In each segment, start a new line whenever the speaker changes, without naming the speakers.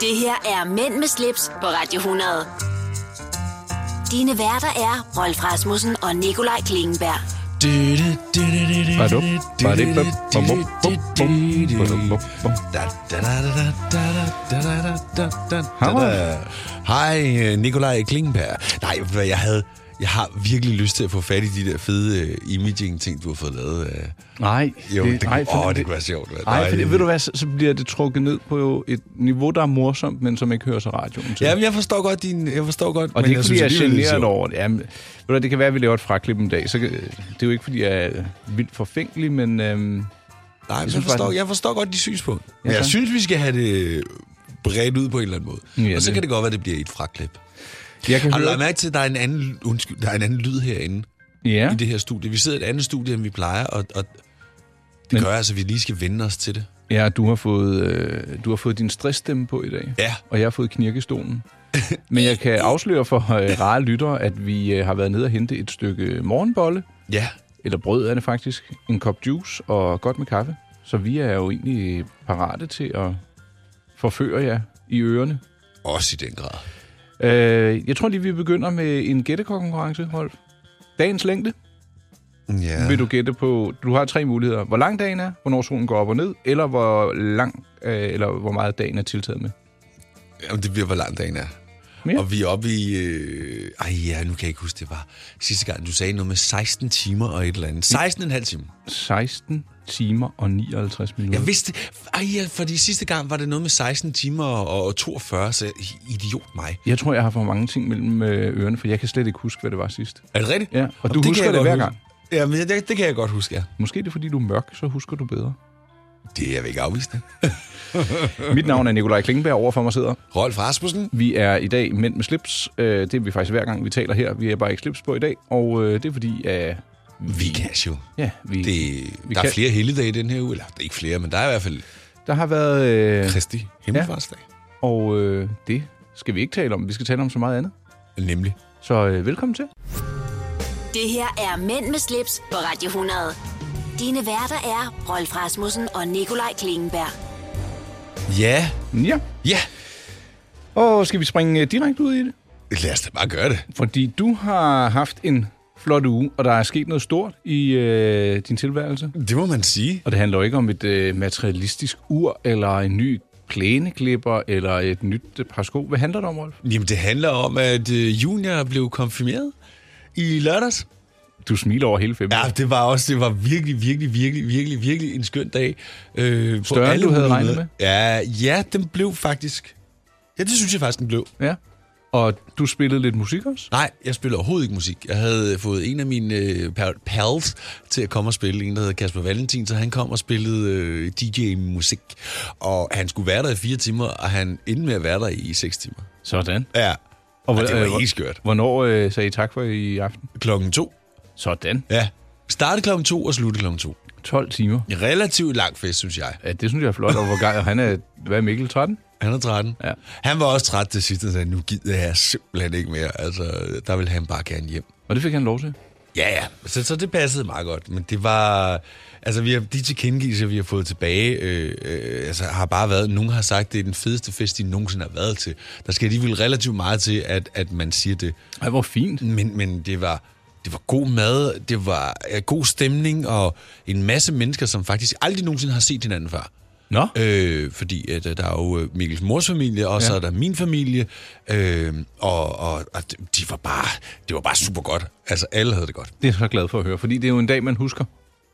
Det her er Mænd med slips på Radio 100. Dine værter er Rolf Rasmussen og Nikolaj Klingenberg.
Hvad
Bado, badi, bum, bum, bum, bum, bum, bum, bum, bum. Hammer.
Hej, øh, Nikolaj Klingberg. Nej, ved du hvad, jeg havde... Jeg har virkelig lyst til at få fat i de der fede uh, imaging-ting, du har fået lavet. Uh.
Nej,
Jo, det, det,
nej, for-
åh, det kunne være sjovt. hvad?
Nej, for det, ved du hvad, så, så bliver det trukket ned på jo et niveau, der er morsomt, men som ikke hører sig radioen til.
Jamen, jeg forstår godt din... Jeg forstår godt,
og det er ikke, fordi jeg er
altså, alligevel, det
generet
sjovt.
over det. Jamen, ved du hvad, det kan være, at vi laver et fraklip en dag. Så, kan- det er jo ikke, fordi jeg er vildt forfængelig, men
Nej,
øhm,
men jeg,
synes
forstår,
faktisk-
jeg forstår godt de synspunkt. Men
Ja,
jeg
tak.
synes, vi skal have det bredt ud på en eller anden måde.
Ja,
og så
det-
kan det godt være, det bliver et fraklip.
jeg kan
Har du
høre...
lagt mærke til, at der er en anden, undskyld, der er en anden lyd herinde
Ja,
i det her studie? Vi sidder i et andet studie, end vi plejer, og, og det
Men-
gør altså, at vi lige skal vende os til det.
ja du, har fået, øh, du har fået din stressstemme på i dag.
Ja.
Og jeg har fået knirkestolen. Men jeg kan afsløre for øh, rare lyttere, at vi øh, har været nede og hente et stykke morgenbolle,
Ja.
eller brød er det faktisk, en kop juice og godt med kaffe. Så vi er jo egentlig parate til at forføre jer i ørerne.
Også i den grad.
Øh, jeg tror lige, vi begynder med en gættekonkurrence, Rolf. Dagens længde
Ja.
vil du gætte på. Du har tre muligheder. Hvor lang dagen er, hvornår solen går op og ned, eller hvor lang øh, eller hvor meget dagen er tiltaget med.
Jamen, det bliver, hvor lang dagen er.
Mere?
Og vi er oppe i... Øh... Ej ja, nu kan jeg ikke huske, det var sidste gang, du sagde noget med 16 timer og et eller andet. 16,5 timer.
16 timer og 59 minutter.
Jeg vidste... Ej ja, fordi sidste gang var det noget med 16 timer og, og 42, så idiot mig.
Jeg tror, jeg har for mange ting mellem øh, ørerne, for jeg kan slet ikke huske, hvad det var sidst.
Er det rigtigt?
Ja, og du
kan
husker
jeg
det
godt
hver
huske.
gang.
Jamen, det, det, det kan jeg godt huske, ja.
Måske er det, fordi du er mørk, så husker du bedre.
Det er jeg vil ikke afvise det.
Mit navn er Nikolaj Klingberg, overfor mig sidder.
Rolf Rasmussen.
Vi er i dag mænd med slips. Øh, det er vi faktisk hver gang, vi taler her. Vi er bare ikke slips på i dag, og øh, det er fordi, at...
Vi kan jo.
Ja, vi,
Det,
Vi
der er
kan-
flere helligdage i den her uge. Eller der er ikke flere, men der er i hvert fald
der har været... Øh,
Kristi Himmelfartsdag.
og øh, det skal vi ikke tale om. Vi skal tale om så meget andet.
Nemlig.
Så øh, velkommen til.
Det her er Mænd med slips på Radio 100. Dine værter er Rolf Rasmussen og Nikolaj Klingenberg.
Ja.
Ja.
Ja.
Og skal vi springe øh, direkte ud i det?
Lad os da bare gøre det.
Fordi du har haft en flot uge, og der er sket noget stort i øh, din tilværelse.
Det må man sige.
Og det handler jo ikke om et øh, materialistisk ur, eller en ny plæneklipper, eller et nyt øh, par sko. Hvad handler det om, Rolf?
Jamen, det handler om, at øh, junior blev konfirmeret i lørdags.
Du smiler over hele fem.
Ja, det var også, det var virkelig, virkelig, virkelig, virkelig, virkelig en skøn dag. Øh, på
Større, end du havde
mulige
regnet
måder. Ja, ja, den blev faktisk... Ja, det synes jeg faktisk, den blev.
ja. Og du spillede lidt musik også?
Nej, jeg spiller overhovedet ikke musik. Jeg havde øh, fået en af mine øh, pal- pals til at komme og spille, en der hedder Kasper Valentin, så han kom og spillede øh, DJ-musik. Og han skulle være der i fire timer, og han endte med at være der i seks timer.
Sådan.
Ja, og, øh, og det var helt skørt.
Hvornår øh, sagde I tak for i aften?
Klokken to.
Sådan.
Ja, starte klokken to og slutte klokken to.
12 timer.
En relativt lang fest, synes jeg.
Ja, det synes jeg er flot, og hvor gej, og han er, hvad er Mikkel, 13?
Han er 13.
Ja.
Han var også træt til sidst, og sagde, nu gider jeg simpelthen ikke mere. Altså, der ville han bare gerne hjem.
Og det fik han lov til.
Ja, ja. Så, så det passede meget godt. Men det var... Altså, vi har, de tilkendegivelser, vi har fået tilbage, øh, øh, altså, har bare været... Nogen har sagt, det er den fedeste fest, de nogensinde har været til. Der skal alligevel relativt meget til, at, at man siger det.
Ej, hvor fint.
Men, men det var... Det var god mad, det var øh, god stemning, og en masse mennesker, som faktisk aldrig nogensinde har set hinanden før.
Nå,
Øh, fordi at, øh, der er jo øh, Mikkels mors familie, og ja. så
Ja.
er der min familie, øh, og, og, og de- de var bare, det var bare super godt. Altså, alle havde det godt.
det er jeg så glad for at høre, fordi det er jo en dag, man husker.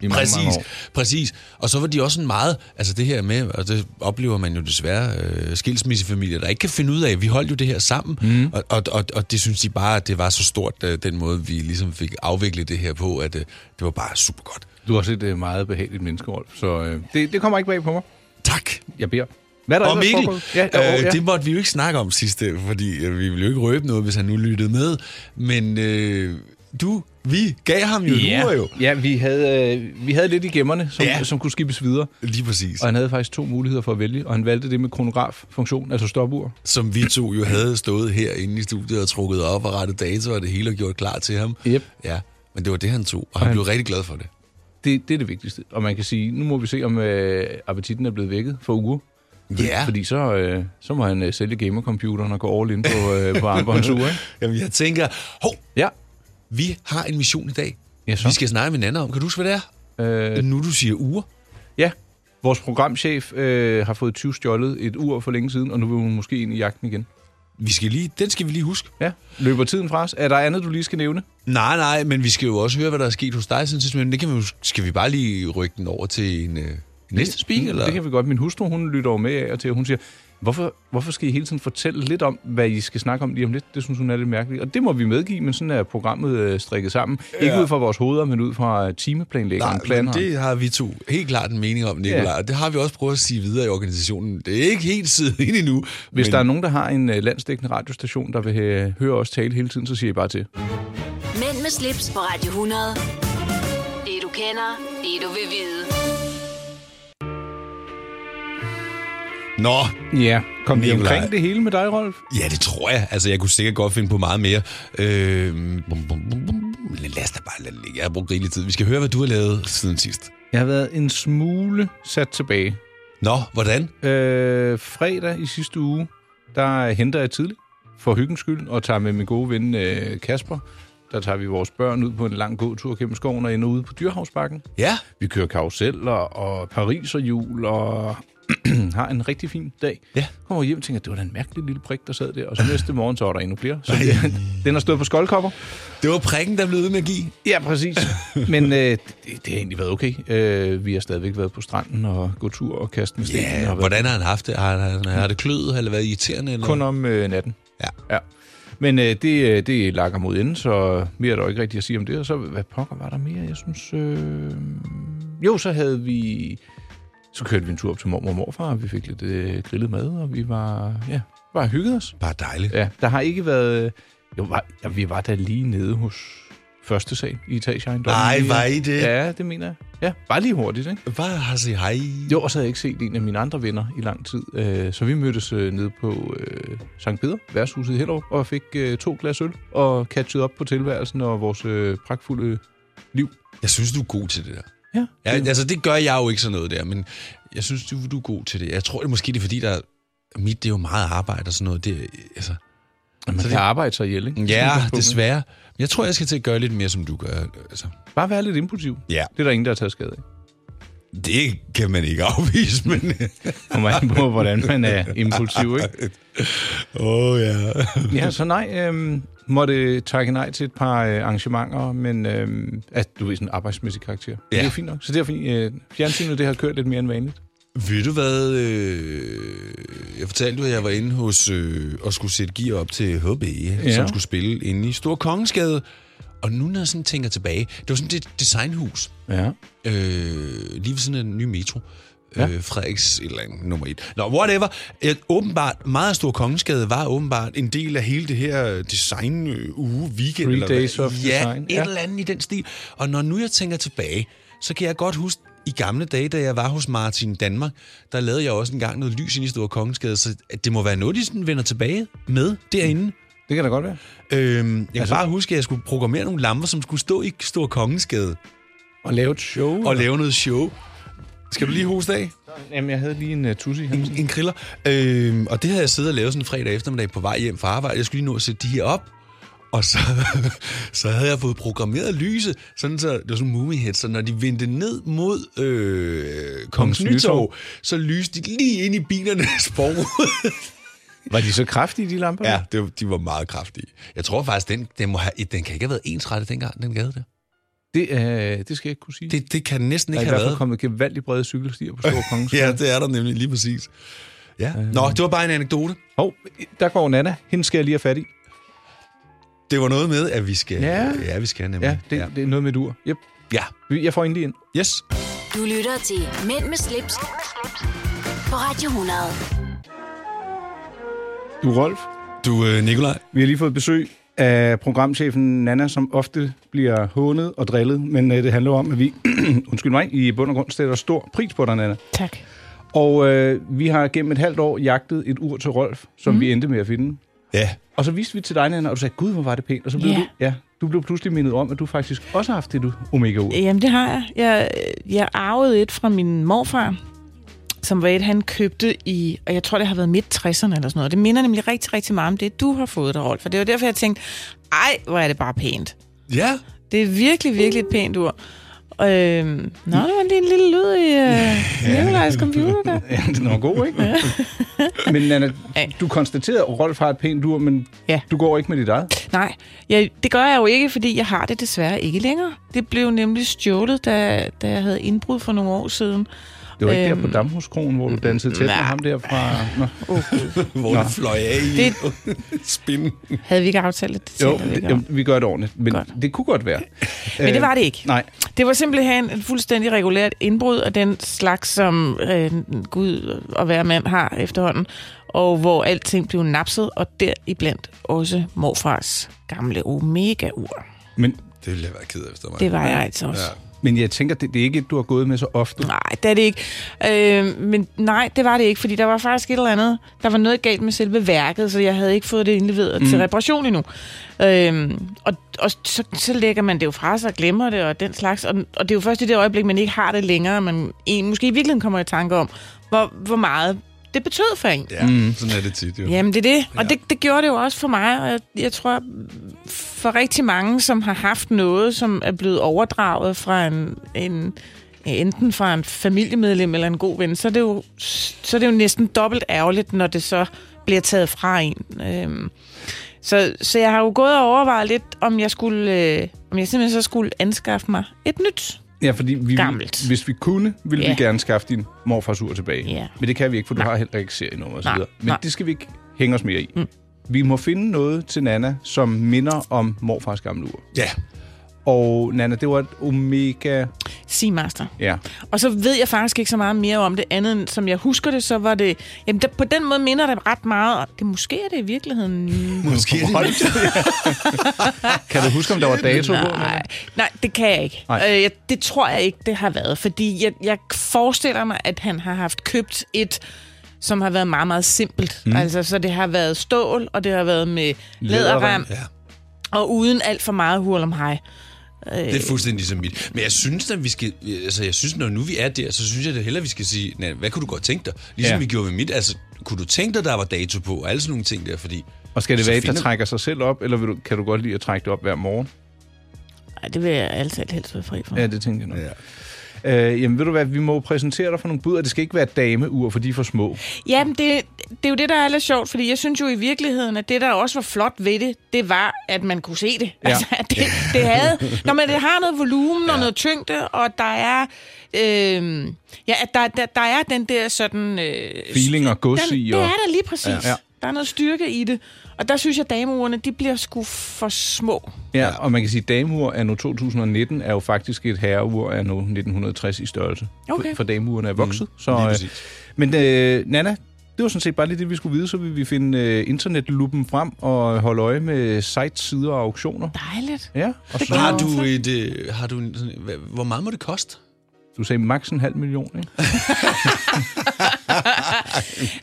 I mange,
Præcis,
Mange år.
præcis. Og så var de også en meget, altså det her med, og det oplever man jo desværre, øh, skilsmissefamilier, der ikke kan finde ud af, vi holdt jo det her sammen,
Mhm.
mm. og, og, og, og det synes de bare, at det var så stort, øh, den måde vi ligesom fik afviklet det her på, at øh, det var bare super godt.
Du er også et øh, meget behageligt menneske, Rolf, så øh, det, det kommer ikke bag på mig.
Tak!
Jeg beder. Hvad er der
Og
ellers
Mikkel,
foregået?
ja,
Ja, øh,
øh,
ja.
det måtte vi jo ikke snakke om sidste, fordi øh, vi ville jo ikke røbe noget, hvis han nu lyttede med. Men øh, du, vi gav ham jo yeah. jo.
ja vi, havde, øh, vi havde lidt i gemmerne, som,
Ja.
ja. som kunne skibes videre.
Lige præcis.
Og han havde faktisk to muligheder for at vælge, og han valgte det med kronograf-funktion, altså stopur.
Som vi to jo havde stået herinde i studiet og trukket op og rettet data og det hele og gjort klar til ham.
Yep.
Ja, men det var det, han tog, og han
han-
blev rigtig glad for det.
Det, det er det vigtigste. Og man kan sige, nu må vi se, om øh, appetitten er blevet vækket for uger.
Ja.
Fordi så, øh, så må han øh, sælge gamercomputeren og gå all in på, øh, på armbåndsure, ikke?
Jamen, jeg tænker, hov,
Ja.
vi har en mission i dag.
Ja, så.
Vi skal snakke med hinanden om, kan du huske, hvad det er?
Øh,
Nu du siger uger.
ja. Vores programchef øh, har fået 20 stjålet et ur for længe siden, og nu vil hun måske ind i jagten igen.
Vi skal lige, den skal vi lige huske.
Ja. Løber tiden fra os? Er der andet, du lige skal nævne?
Nej, nej, men vi skal jo også høre, hvad der er sket hos dig siden sidst, men det kan vi, jo- skal vi bare lige rykke den over til en øh, næste speak, eller?
Det kan vi godt. Min hustru, hun lytter jo med af og til, og hun siger, hvorfor, hvorfor skal I hele tiden fortælle lidt om, hvad I skal snakke om lige om lidt? Det synes hun er lidt mærkeligt. Og det må vi medgive, men sådan er programmet øh, strikket sammen. Ja. Ikke ud fra vores hoveder, men ud fra øh, timeplanlæggeren.
Nej, men
planeren.
det har vi to helt klart en mening om, Nicolaj,
Ja.
og det har vi også prøvet at sige videre i organisationen. Det er ikke helt siddet ind endnu.
Hvis
men
der er nogen, der har en øh, landsdækkende radiostation, der vil øh, høre os tale hele tiden, så siger I bare til.
Mænd med slips på Radio 100. Det du kender, det du vil vide.
Nå,
Ja, kom vi
Nikolaj.
omkring det hele med dig, Rolf?
ja, det tror jeg. Altså, jeg kunne sikkert godt finde på meget mere. Øh, bum, bum, bum, bum. Lad os da bare lade det ligge. Jeg har brugt rigelig tid. Vi skal høre, hvad du har lavet siden sidst.
Jeg har været en smule sat tilbage.
Nå, hvordan?
Øh, fredag i sidste uge, der henter jeg tidligt for hyggens skyld, og tager med min gode ven øh, Kasper. Der tager vi vores børn ud på en lang gåtur gennem skoven og ender ude på Dyrhavsbakken.
Ja,
Vi kører karuseller og Paris og jul og har en rigtig fin dag.
Ja.
Kommer hjem og tænker, det var da en mærkelig lille prik, der sad der. Og så næste morgen, så var der endnu flere. Så det, den har stået på skoldkopper.
det var prikken, der blev ved med at give.
Ja, præcis. Men øh, det, det har egentlig været okay. Øh, vi har stadigvæk været på stranden og gå tur og kaste med sten.
Ja,
og været
hvordan har han haft det? Har, han, har det kløet, eller været irriterende? Eller?
Kun om øh, natten.
Mm. Ja.
ja. Men øh, det, øh, det lakker mod enden, så mere er der jo ikke rigtigt at sige om det. Og så, hvad pokker var der mere? Jeg synes... Øh... Jo, så havde vi... Så kørte vi en tur op til mormor og morfar, og vi fik lidt øh, grillet mad, og vi var... Ja, bare hygget os.
Bare dejligt.
Ja, der har ikke været... øh, Jo, var, ja, vi var da lige nede hos første sal i etageejendommen.
Nej,
Lige-
var I det?
Ja, det mener jeg. Ja, bare lige hurtigt, ikke?
Bare har sige hej.
Jo, og så havde jeg ikke set en af mine andre venner i lang tid. Øh, Så vi mødtes øh, nede på øh, Sankt Peter, værtshuset i Hellerup, og fik øh, to glas øl og catchede op på tilværelsen og vores øh, pragtfulde liv.
Jeg synes, du er god til det der.
Ja,
Ja,
det,
altså, det gør jeg jo ikke sådan noget der, men jeg synes, du, du er god til det. Jeg tror, det er måske det er, fordi, der, mit det er jo meget arbejde og sådan noget. Det, er- altså,
man
så
kan
det-
arbejde sig ihjel, ikke?
ja,
Sådan på,
desværre. Men jeg tror, jeg skal til at gøre lidt mere, som du gør. Altså,
ikke? Bare være lidt impulsiv.
ja,
Det er der ingen, der har taget skade af.
det kan man ikke afvise, men...
Kommer an på, hvordan man er impulsiv, ikke?
Åh, oh, ja.
Ja, så nej, øhm, måtte takke nej til et par øh, arrangementer, men øhm, at du ved, sådan arbejdsmæssig karakter. Ja. Det er jo fint nok. Så derfor, øh, fjernsynet det har kørt lidt mere end vanligt.
Ved du hvad? Øh, jeg fortalte jo, at jeg var inde hos øh, og skulle sætte gear op til HB, ja.
Ja.
som skulle spille inde i Stor Kongensgade. Og nu, når jeg sådan tænker tilbage, det var sådan et designhus,
Ja.
øh, lige ved siden af den nye metro.
Ja.
Øh, Frederiks et eller andet, nummer et. Nå, whatever. Øh, åbenbart, meget stor kongensgade var åbenbart en del af hele det her øh, design øh, uge, weekend.
Three
eller hvad-
days of
ja,
design.
et
Ja.
eller andet i den stil. Og når nu jeg tænker tilbage, så kan jeg godt huske, i gamle dage, da jeg var hos Martin Danmark, der lavede jeg også engang noget lys ind i Store Kongensgade, så at det må være noget, de sådan vender tilbage med derinde.
Det kan da godt være.
Øhm, jeg kan altså, bare huske, at jeg skulle programmere nogle lamper, som skulle stå i Store Kongensgade
Og lave et show.
og lave noget show. Skal du lige hoste af?
Jamen, jeg havde lige en uh, tussi her.
En kriller. Øhm, og det havde jeg siddet og lavet sådan en fredag eftermiddag på vej hjem fra arbejde. Jeg skulle lige nå at sætte de her op. Og så, så havde jeg fået programmeret lyse, sådan så, det var sådan en head, så når de vendte ned mod øh, Kongens Nytorv,
Nytorv,
så lyste de lige ind i bilernes forud.
Var de så kraftige, de lamper?
ja, det, var- de var meget kraftige. Jeg tror faktisk, den, den, må have, den kan ikke have været ensrettet dengang, den gade der.
Det, uh, det skal jeg ikke kunne sige. Det
Det, det kan den næsten
der er
ikke
i
have
hvert
været.
fald kommet gevaldigt brede cykelstier på Store Kongens.
Ja, det er der nemlig lige præcis. Ja. Nå, det var bare en anekdote.
Hov, der går Nana. Hende skal jeg lige have fat i.
Det var noget med, at vi skal...
Ja.
ja vi skal nemlig.
Ja, det, ja. det er noget med et ur. Yep.
ja.
Vi- Jeg får hende lige ind.
Yes.
Du lytter til Mænd med slips, på Radio 100.
Du, Rolf.
Du, øh, Nikolaj.
Vi har lige fået besøg af programchefen Nana, som ofte bliver hånet og drillet, men øh, det handler jo om, at vi, undskyld mig, i bund og grund sætter stor pris på dig, Nana.
Tak.
Og øh, vi har gennem et halvt år jagtet et ur til Rolf, som
Mhm.
mm. vi endte med at finde.
Ja.
Og så viste vi til dig, Nana, og du sagde, gud, hvor var det pænt. Og så blev
Ja.
du, ja, du blev pludselig mindet om, at du faktisk også har haft det du omega ur
Jamen, det har jeg. Jeg, jeg arvede et fra min morfar, som Wade han købte i, og jeg tror, det har været midt 60'erne eller sådan noget. Det minder nemlig rigtig, rigtig meget om det, du har fået der, Rolf. For det var derfor, jeg tænkte, ej, hvor er det bare pænt.
Ja.
Det er virkelig, virkelig et pænt ur. Øhm, nå, der var lige en lille lyd i øh, Nikolajs computer der.
Ja, den var god, ikke? men Nana,
Ja.
du konstaterede, at Rolf har et pænt ur, men
Ja.
du går ikke med dit eget.
Nej, jeg, det gør jeg jo ikke, fordi jeg har det desværre ikke længere. Det blev nemlig stjålet, da, da jeg havde indbrud for nogle år siden.
Det var ikke der
Øhm.
på Damhuskronen, hvor du dansede tæt med
Nej.
ham der fra... Nå.
Hvor
Nå.
det fløj af i
Det-
spinden.
Havde vi ikke aftalt, at det
Jo,
taler vi ikke om?
jamen, vi gør det ordentligt, men
Godt.
det kunne godt være.
Men det var det ikke.
Nej,
Det var simpelthen et fuldstændig regulært indbrud af den slags, som øh, Gud og hver mand har efterhånden, og hvor alting blev napset, og deriblandt også morfars gamle Omega-ur.
men,
Det ville jeg være ked af, hvis det var mig.
Det var jeg altså også. Ja.
men jeg tænker, det, det er ikke et, du har gået med så ofte.
Nej, det er det ikke. Øh, men nej, det var det ikke, fordi der var faktisk et eller andet. Der var noget galt med selve værket, så jeg havde ikke fået det indleveret mm. til reparation endnu. Øh, og og så, så lægger man det jo fra sig og glemmer det og den slags. Og, og det er jo først i det øjeblik, man ikke har det længere, man en, måske i virkeligheden kommer i tanke om, hvor, hvor meget det betød for en.
Ja, mm. sådan er det tit jo.
Jamen, det er det. Og det, det gjorde det jo også for mig, og jeg, jeg tror, for rigtig mange, som har haft noget, som er blevet overdraget fra en, en enten fra en familiemedlem eller en god ven, så er det jo, så er det jo næsten dobbelt ærgerligt, når det så bliver taget fra en. Øhm, så, så jeg har jo gået og overvejet lidt, om jeg skulle, øh, om jeg simpelthen så skulle anskaffe mig et nyt.
Ja, fordi vi,
Gammelt.
hvis vi kunne, ville
Ja.
vi gerne skaffe din morfars ur tilbage.
Ja.
Men det kan vi ikke, for du har heller ikke serienummer og så
Nej,
videre. Men
nej.
det skal vi ikke hænge os mere i. Mm. Vi må finde noget til Nana, som minder om morfars gamle ur.
Ja.
Og Nana, det var et omega...
Seamaster.
Ja,
Og så ved jeg faktisk ikke så meget mere om det andet, end som jeg husker det, så var det... Jamen, der, på den måde minder det ret meget. Og det, måske er det i virkeligheden...
Måske er det
kan du huske, om der var dato på?
Nej, nej, det kan jeg ikke.
Nej.
Øh, jeg, det tror jeg ikke, det har været. Fordi jeg, jeg forestiller mig, at han har haft købt et som har været meget, meget simpelt. Mm. Altså, så det har været stål, og det har været med læderrem,
Ja.
og uden alt for meget hurl om hej.
Det er fuldstændig som mit. Men jeg synes, at vi skal, altså, jeg synes, når nu vi er der, så synes jeg da hellere, vi skal sige, "Nana, hvad kunne du godt tænke dig? Ligesom
Ja.
ja. vi gjorde ved mit, altså, kunne du tænke dig, der var dato på, og alle sådan nogle ting der, fordi...
Og skal det
Så
være et, der
finder-
trækker sig selv op, eller vil du, kan du godt lide at trække det op hver morgen?
Ej, det vil jeg altid helst være fri for.
Ja, det tænker jeg nok. Ja. Øh, jamen, ved du hvad, vi må jo præsentere dig for nogle bud, og det skal ikke være dameur, for de er for små.
Ja, men det, det er jo det, der er lidt sjovt, fordi jeg synes jo i virkeligheden, at det, der også var flot ved det, det var, at man kunne se det.
Ja.
Ja. Altså, at det, det havde... Når man det har noget volumen og noget tyngde, og der er... Øh, ja, at der, der, der er den der sådan... Øh,
Feeling og gods
den,
i,
det er
og
der lige præcis.
Ja.
Ja.
Ja.
Der er noget styrke i det. Og der synes jeg, at dameurene, de bliver sgu for små.
Ja, og man kan sige, at dameur anno 2019 er jo faktisk et herreur anno 1960 i størrelse.
Okay.
For, for dameurene er vokset. Mm, så,
lige
øh,
præcis.
men øh, Nana, det var sådan set bare lige det, vi skulle vide. Så vil vi finde øh, internetluppen frem og holde øje med sites, sider og auktioner.
Dejligt.
Ja, og
Det
så,
glæder
Har
mig.
du et... Øh, har du en, sådan, hvad, hvor meget må det koste?
du sagde maks en halv million, ikke?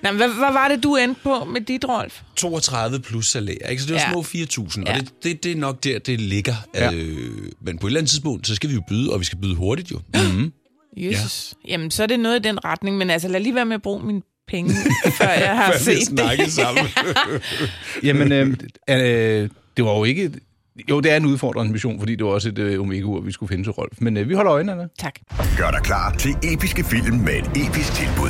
Nå, men hvad, hvad var det, du endte på med dit, Rolf?
32 plus salær, ikke? Så det er
Ja.
jo små 4.000, ja.
Ja.
og det, det, det er nok der, det ligger.
Ja.
Ja. Øh, men på et eller andet tidspunkt, så skal vi jo byde, og vi skal byde hurtigt jo. Mm-hmm.
Jesus. Ja. Jamen, så er det noget i den retning, men altså lad lige være med at bruge mine penge, før jeg har set det.
snakke sammen.
Jamen, øh, øh, det var jo ikke... et- Jo, det er en udfordrende mission, fordi det var også et øh, omega-ur, vi skulle finde til Rolf. Men øh, vi holder øje, Nana.
Tak.
Gør dig klar til episke film med et episk tilbud.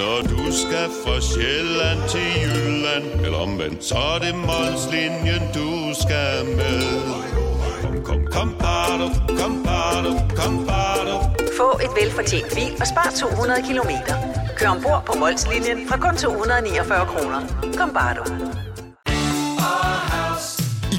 Når du skal fra Sjælland til Jylland Eller omvendt, så er det Molslinjen, du skal med Kom, kom, kom, bado, kom, bado, kom, bado.
Få et velfortjent bil og spar 200 kilometer. Kør ombord på Molslinjen fra kun 249 kroner. Kom bare du.
I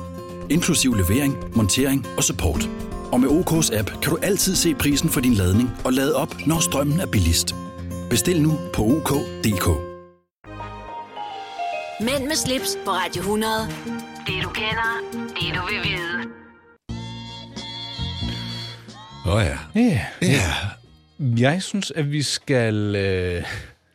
inklusiv levering, montering og support. Og med OK's app kan du altid se prisen for din ladning og lade op, når strømmen er billigst. Bestil nu på OK.dk.
Mænd med slips på Radio 100. Det du kender, det du vil vide.
Åh oh, ja.
Ja.
Ja.
Jeg synes, at vi skal øh,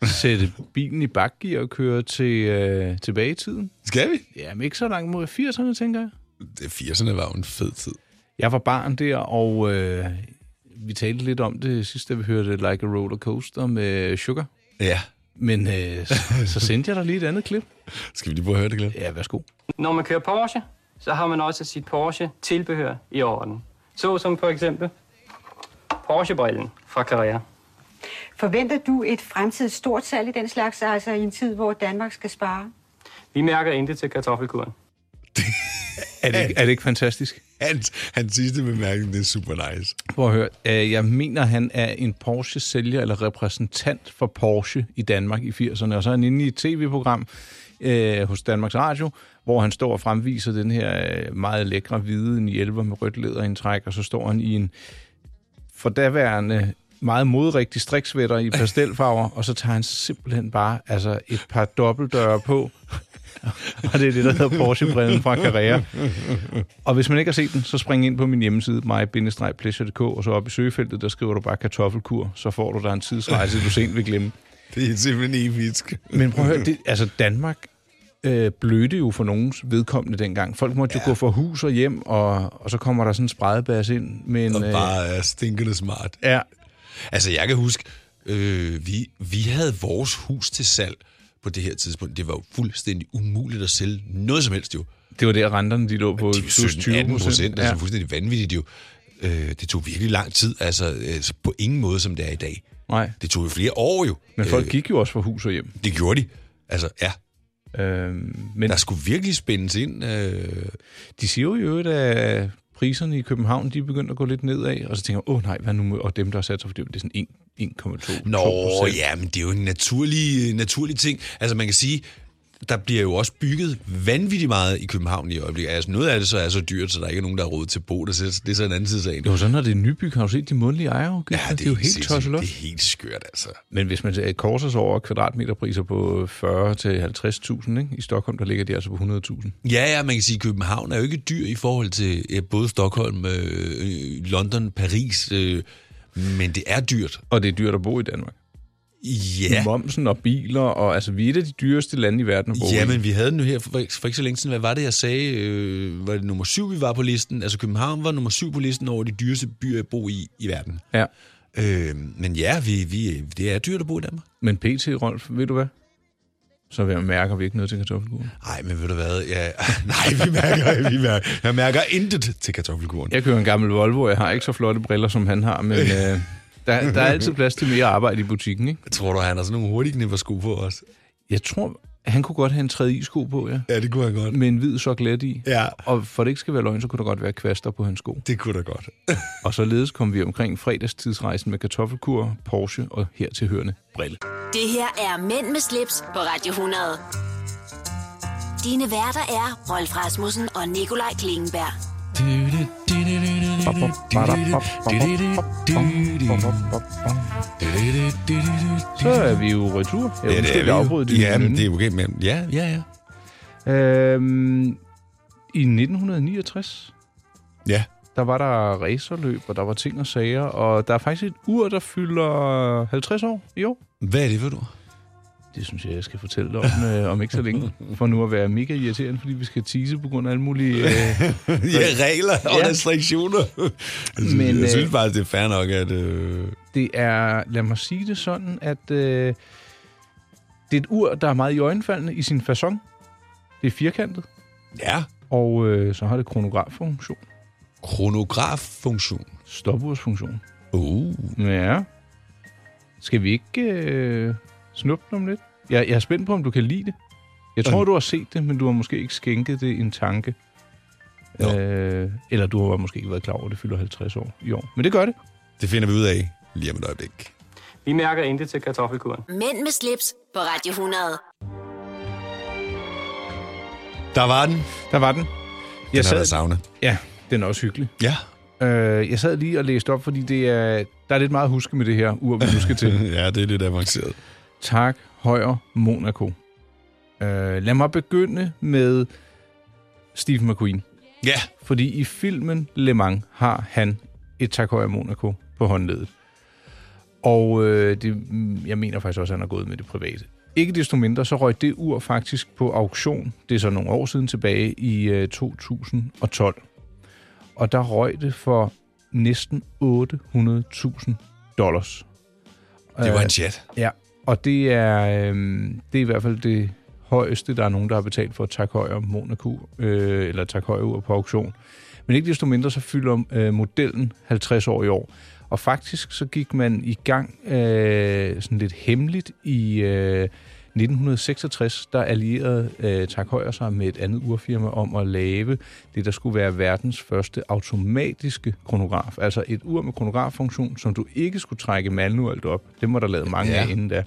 sætte bilen i bakgear og køre til, øh, tilbage i tiden.
Skal vi?
Jamen ikke så langt mod 80'erne, tænker jeg.
Det 80'erne var jo en fed tid.
Jeg var barn der, og øh, vi talte lidt om det sidste, da vi hørte Like a Roller Coaster med Sugar.
Ja.
Men øh, så, så sendte jeg dig lige et andet klip.
Skal vi lige prøve at høre det, Glenn?
Ja, værsgo.
Når man kører Porsche, så har man også sit Porsche-tilbehør i orden. Så som for eksempel Porsche-brillen fra Carrera.
Forventer du et fremtidigt stort salg i den slags, altså i en tid, hvor Danmark skal spare?
Vi mærker intet til kartoffelkuren.
Er det, ikke- er det ikke fantastisk?
Hans, hans sidste bemærkning, det er super nice.
Prøv at høre. Øh, Jeg mener, han er en Porsche-sælger eller repræsentant for Porsche i Danmark i 80'erne. Og så er han inde i et tv-program øh, hos Danmarks Radio, hvor han står og fremviser den her øh, meget lækre hvide 911 med rødt læderindtræk, og så står han i en for daværende meget modrig distriktsvætter i pastelfarver, og så tager han simpelthen bare altså et par dobbeltdøre på, og det er det, der hedder Porsche-brillen fra Carrera. Og hvis man ikke har set den, så spring ind på min hjemmeside, my-pleasure.dk, og så op i søgefeltet, der skriver du bare kartoffelkur, så får du der en tidsrejse, du sent vil glemme.
Det er simpelthen episk.
Men prøv at høre, det, altså Danmark øh, blødte jo for nogens vedkommende dengang. Folk måtte ja. jo gå fra hus og hjem, og, og så kommer der sådan en spredebas ind med en...
Og
øh,
bare er stinkende smart.
Ja,
Altså, jeg kan huske, øh, vi, vi havde vores hus til salg på det her tidspunkt. Det var jo fuldstændig umuligt at sælge noget som helst, jo.
det var der, renterne de lå på
De var 17-18 procent, altså fuldstændig vanvittigt, jo. Øh, det tog virkelig lang tid, altså øh, så på ingen måde, som det er i dag.
Nej,
Det tog jo flere år, jo.
men folk gik jo også fra hus og hjem.
Det gjorde de. Altså, ja,
Øh, men
der skulle virkelig spændes ind. Øh,
De siger jo i øvrigt, at priserne i København, de er begyndt at gå lidt nedad, og så tænker jeg, åh nej, hvad nu med, og dem, der har sat sig for det, det er sådan 1, 1,2
Nå,
2%.
ja, men det er jo en naturlig, øh, naturlig ting. Altså, man kan sige, der bliver jo også bygget vanvittigt meget i København i øjeblikket. Altså, noget af det så er så dyrt, så der ikke er nogen, der har råd til at bo der. Så det er så en anden side af sagen.
Det var sådan, når det er nybyg, har du set de månedlige ejere? Ja, det, det er jo helt
sindssygt.
tosset
Det er
det...
helt skørt, altså.
Men hvis man øh, korser sig over kvadratmeterpriser på 40 til 50.000, ikke? i Stockholm, der ligger de altså på 100.000.
Ja, ja, man kan sige, at København er jo ikke dyr i forhold til øh, både Stockholm, øh, øh, London, Paris, øh, men det er dyrt.
Og det er dyrt at bo i Danmark.
Ja.
Momsen og biler, og altså, vi er et af de dyreste lande i verden at bo
Ja,
i.
men vi havde den jo her for, for ikke så længe siden. Hvad var det, jeg sagde? Øh, var det nummer syv, vi var på listen? Altså København var nummer syv på listen over de dyreste byer at bo i i verden.
Ja.
Øh, men ja, vi, vi, det er dyrt at bo i Danmark.
Men PT, Rolf, ved du hvad? Så vil jeg mærke, at vi ikke noget til kartoffelkuren.
Nej, men ved du hvad? Ja, nej, vi mærker, vi mærker, jeg mærker intet til kartoffelkuren.
Jeg kører en gammel Volvo, jeg har ikke så flotte briller, som han har, men øh, der, der er altid plads til mere arbejde i butikken. Ikke?
Jeg tror du, han har sådan nogle hurtige sko på os?
Jeg tror, han kunne godt have en tredje isko på, ja.
Ja, det kunne han godt.
Med en hvid soklet i.
Ja.
Og for det ikke skal være løgn, så kunne der godt være kvaster på hans sko.
Det kunne da godt.
Og således kom vi omkring fredagstidsrejsen med kartoffelkur, Porsche og hertilhørende brille.
Det her er Mænd med slips på Radio 100. Dine værter er Rolf Rasmussen og Nikolaj Klingenberg.
Så er vi jo retur. Jeg ja, det er vi afbryde din
Ja, men
veninde.
det er jo okay, men ja, ja, ja.
Øhm, I 1969,
Ja,
der var der racerløb, og der var ting og sager, og der er faktisk et ur, der fylder 50 år i år.
hvad er det, ved du?
Det synes jeg, jeg skal fortælle dig om, øh, om ikke så længe. For nu at være mega irriterende, fordi vi skal tease på grund af alle mulige... Øh,
Ja, regler og
Ja.
restriktioner. Men,
Men,
jeg
øh,
synes faktisk, det er fair nok, at... Øh,
det er, lad mig sige det sådan, at øh, det er et ur, der er meget i øjenfaldende i sin façon. Det er firkantet,
ja,
og øh, så har det kronograffunktion.
Kronograffunktion.
Stopursfunktion.
Uh.
Ja. Skal vi ikke øh, snuppe den om lidt? Jeg, jeg er spændt på, om du kan lide det. Jeg tror, du har set det, men du har måske ikke skænket det en tanke. Øh, eller du har måske ikke været klar over, at det fylder 50 år i år. Men det gør det.
Det finder vi ud af lige om et øjeblik.
Vi mærker intet til kartoffelkuren.
Mænd med slips på Radio 100.
Der var den.
Der var den.
Jeg den har været savne.
Ja, den er også hyggelig.
Ja.
Øh, jeg sad lige og læste op, fordi det er, der er lidt meget at huske med det her ur, vi nu skal til.
ja, det er lidt avanceret.
Tak, Højer, Monaco. Øh, lad mig begynde med Steve McQueen.
Ja.
Fordi i filmen Le Mans har han et tak Højer Monaco på håndledet. Og øh, det, mm, jeg mener faktisk også, at han har gået med det private. Ikke desto mindre, så røg det ur faktisk på auktion. Det er så nogle år siden tilbage i øh, 2012. Og der røg det for næsten 800.000 dollars.
Det var
Øh,
en chat.
Ja, og det er, øhm, det er i hvert fald det højeste, der er nogen, der har betalt for Tak Højer Monaco, øh, eller Tak Højer på auktion. Men ikke desto mindre, så fylder øh, modellen 50 år i år. Og faktisk så gik man i gang øh, sådan lidt hemmeligt i øh, 1966, der allierede øh, Tak Højer sig med et andet urfirma om at lave det, der skulle være verdens første automatiske kronograf. Altså et ur med kronograffunktion, som du ikke skulle trække manuelt op. Det må der lavet mange
Ja.
ja. af inden da.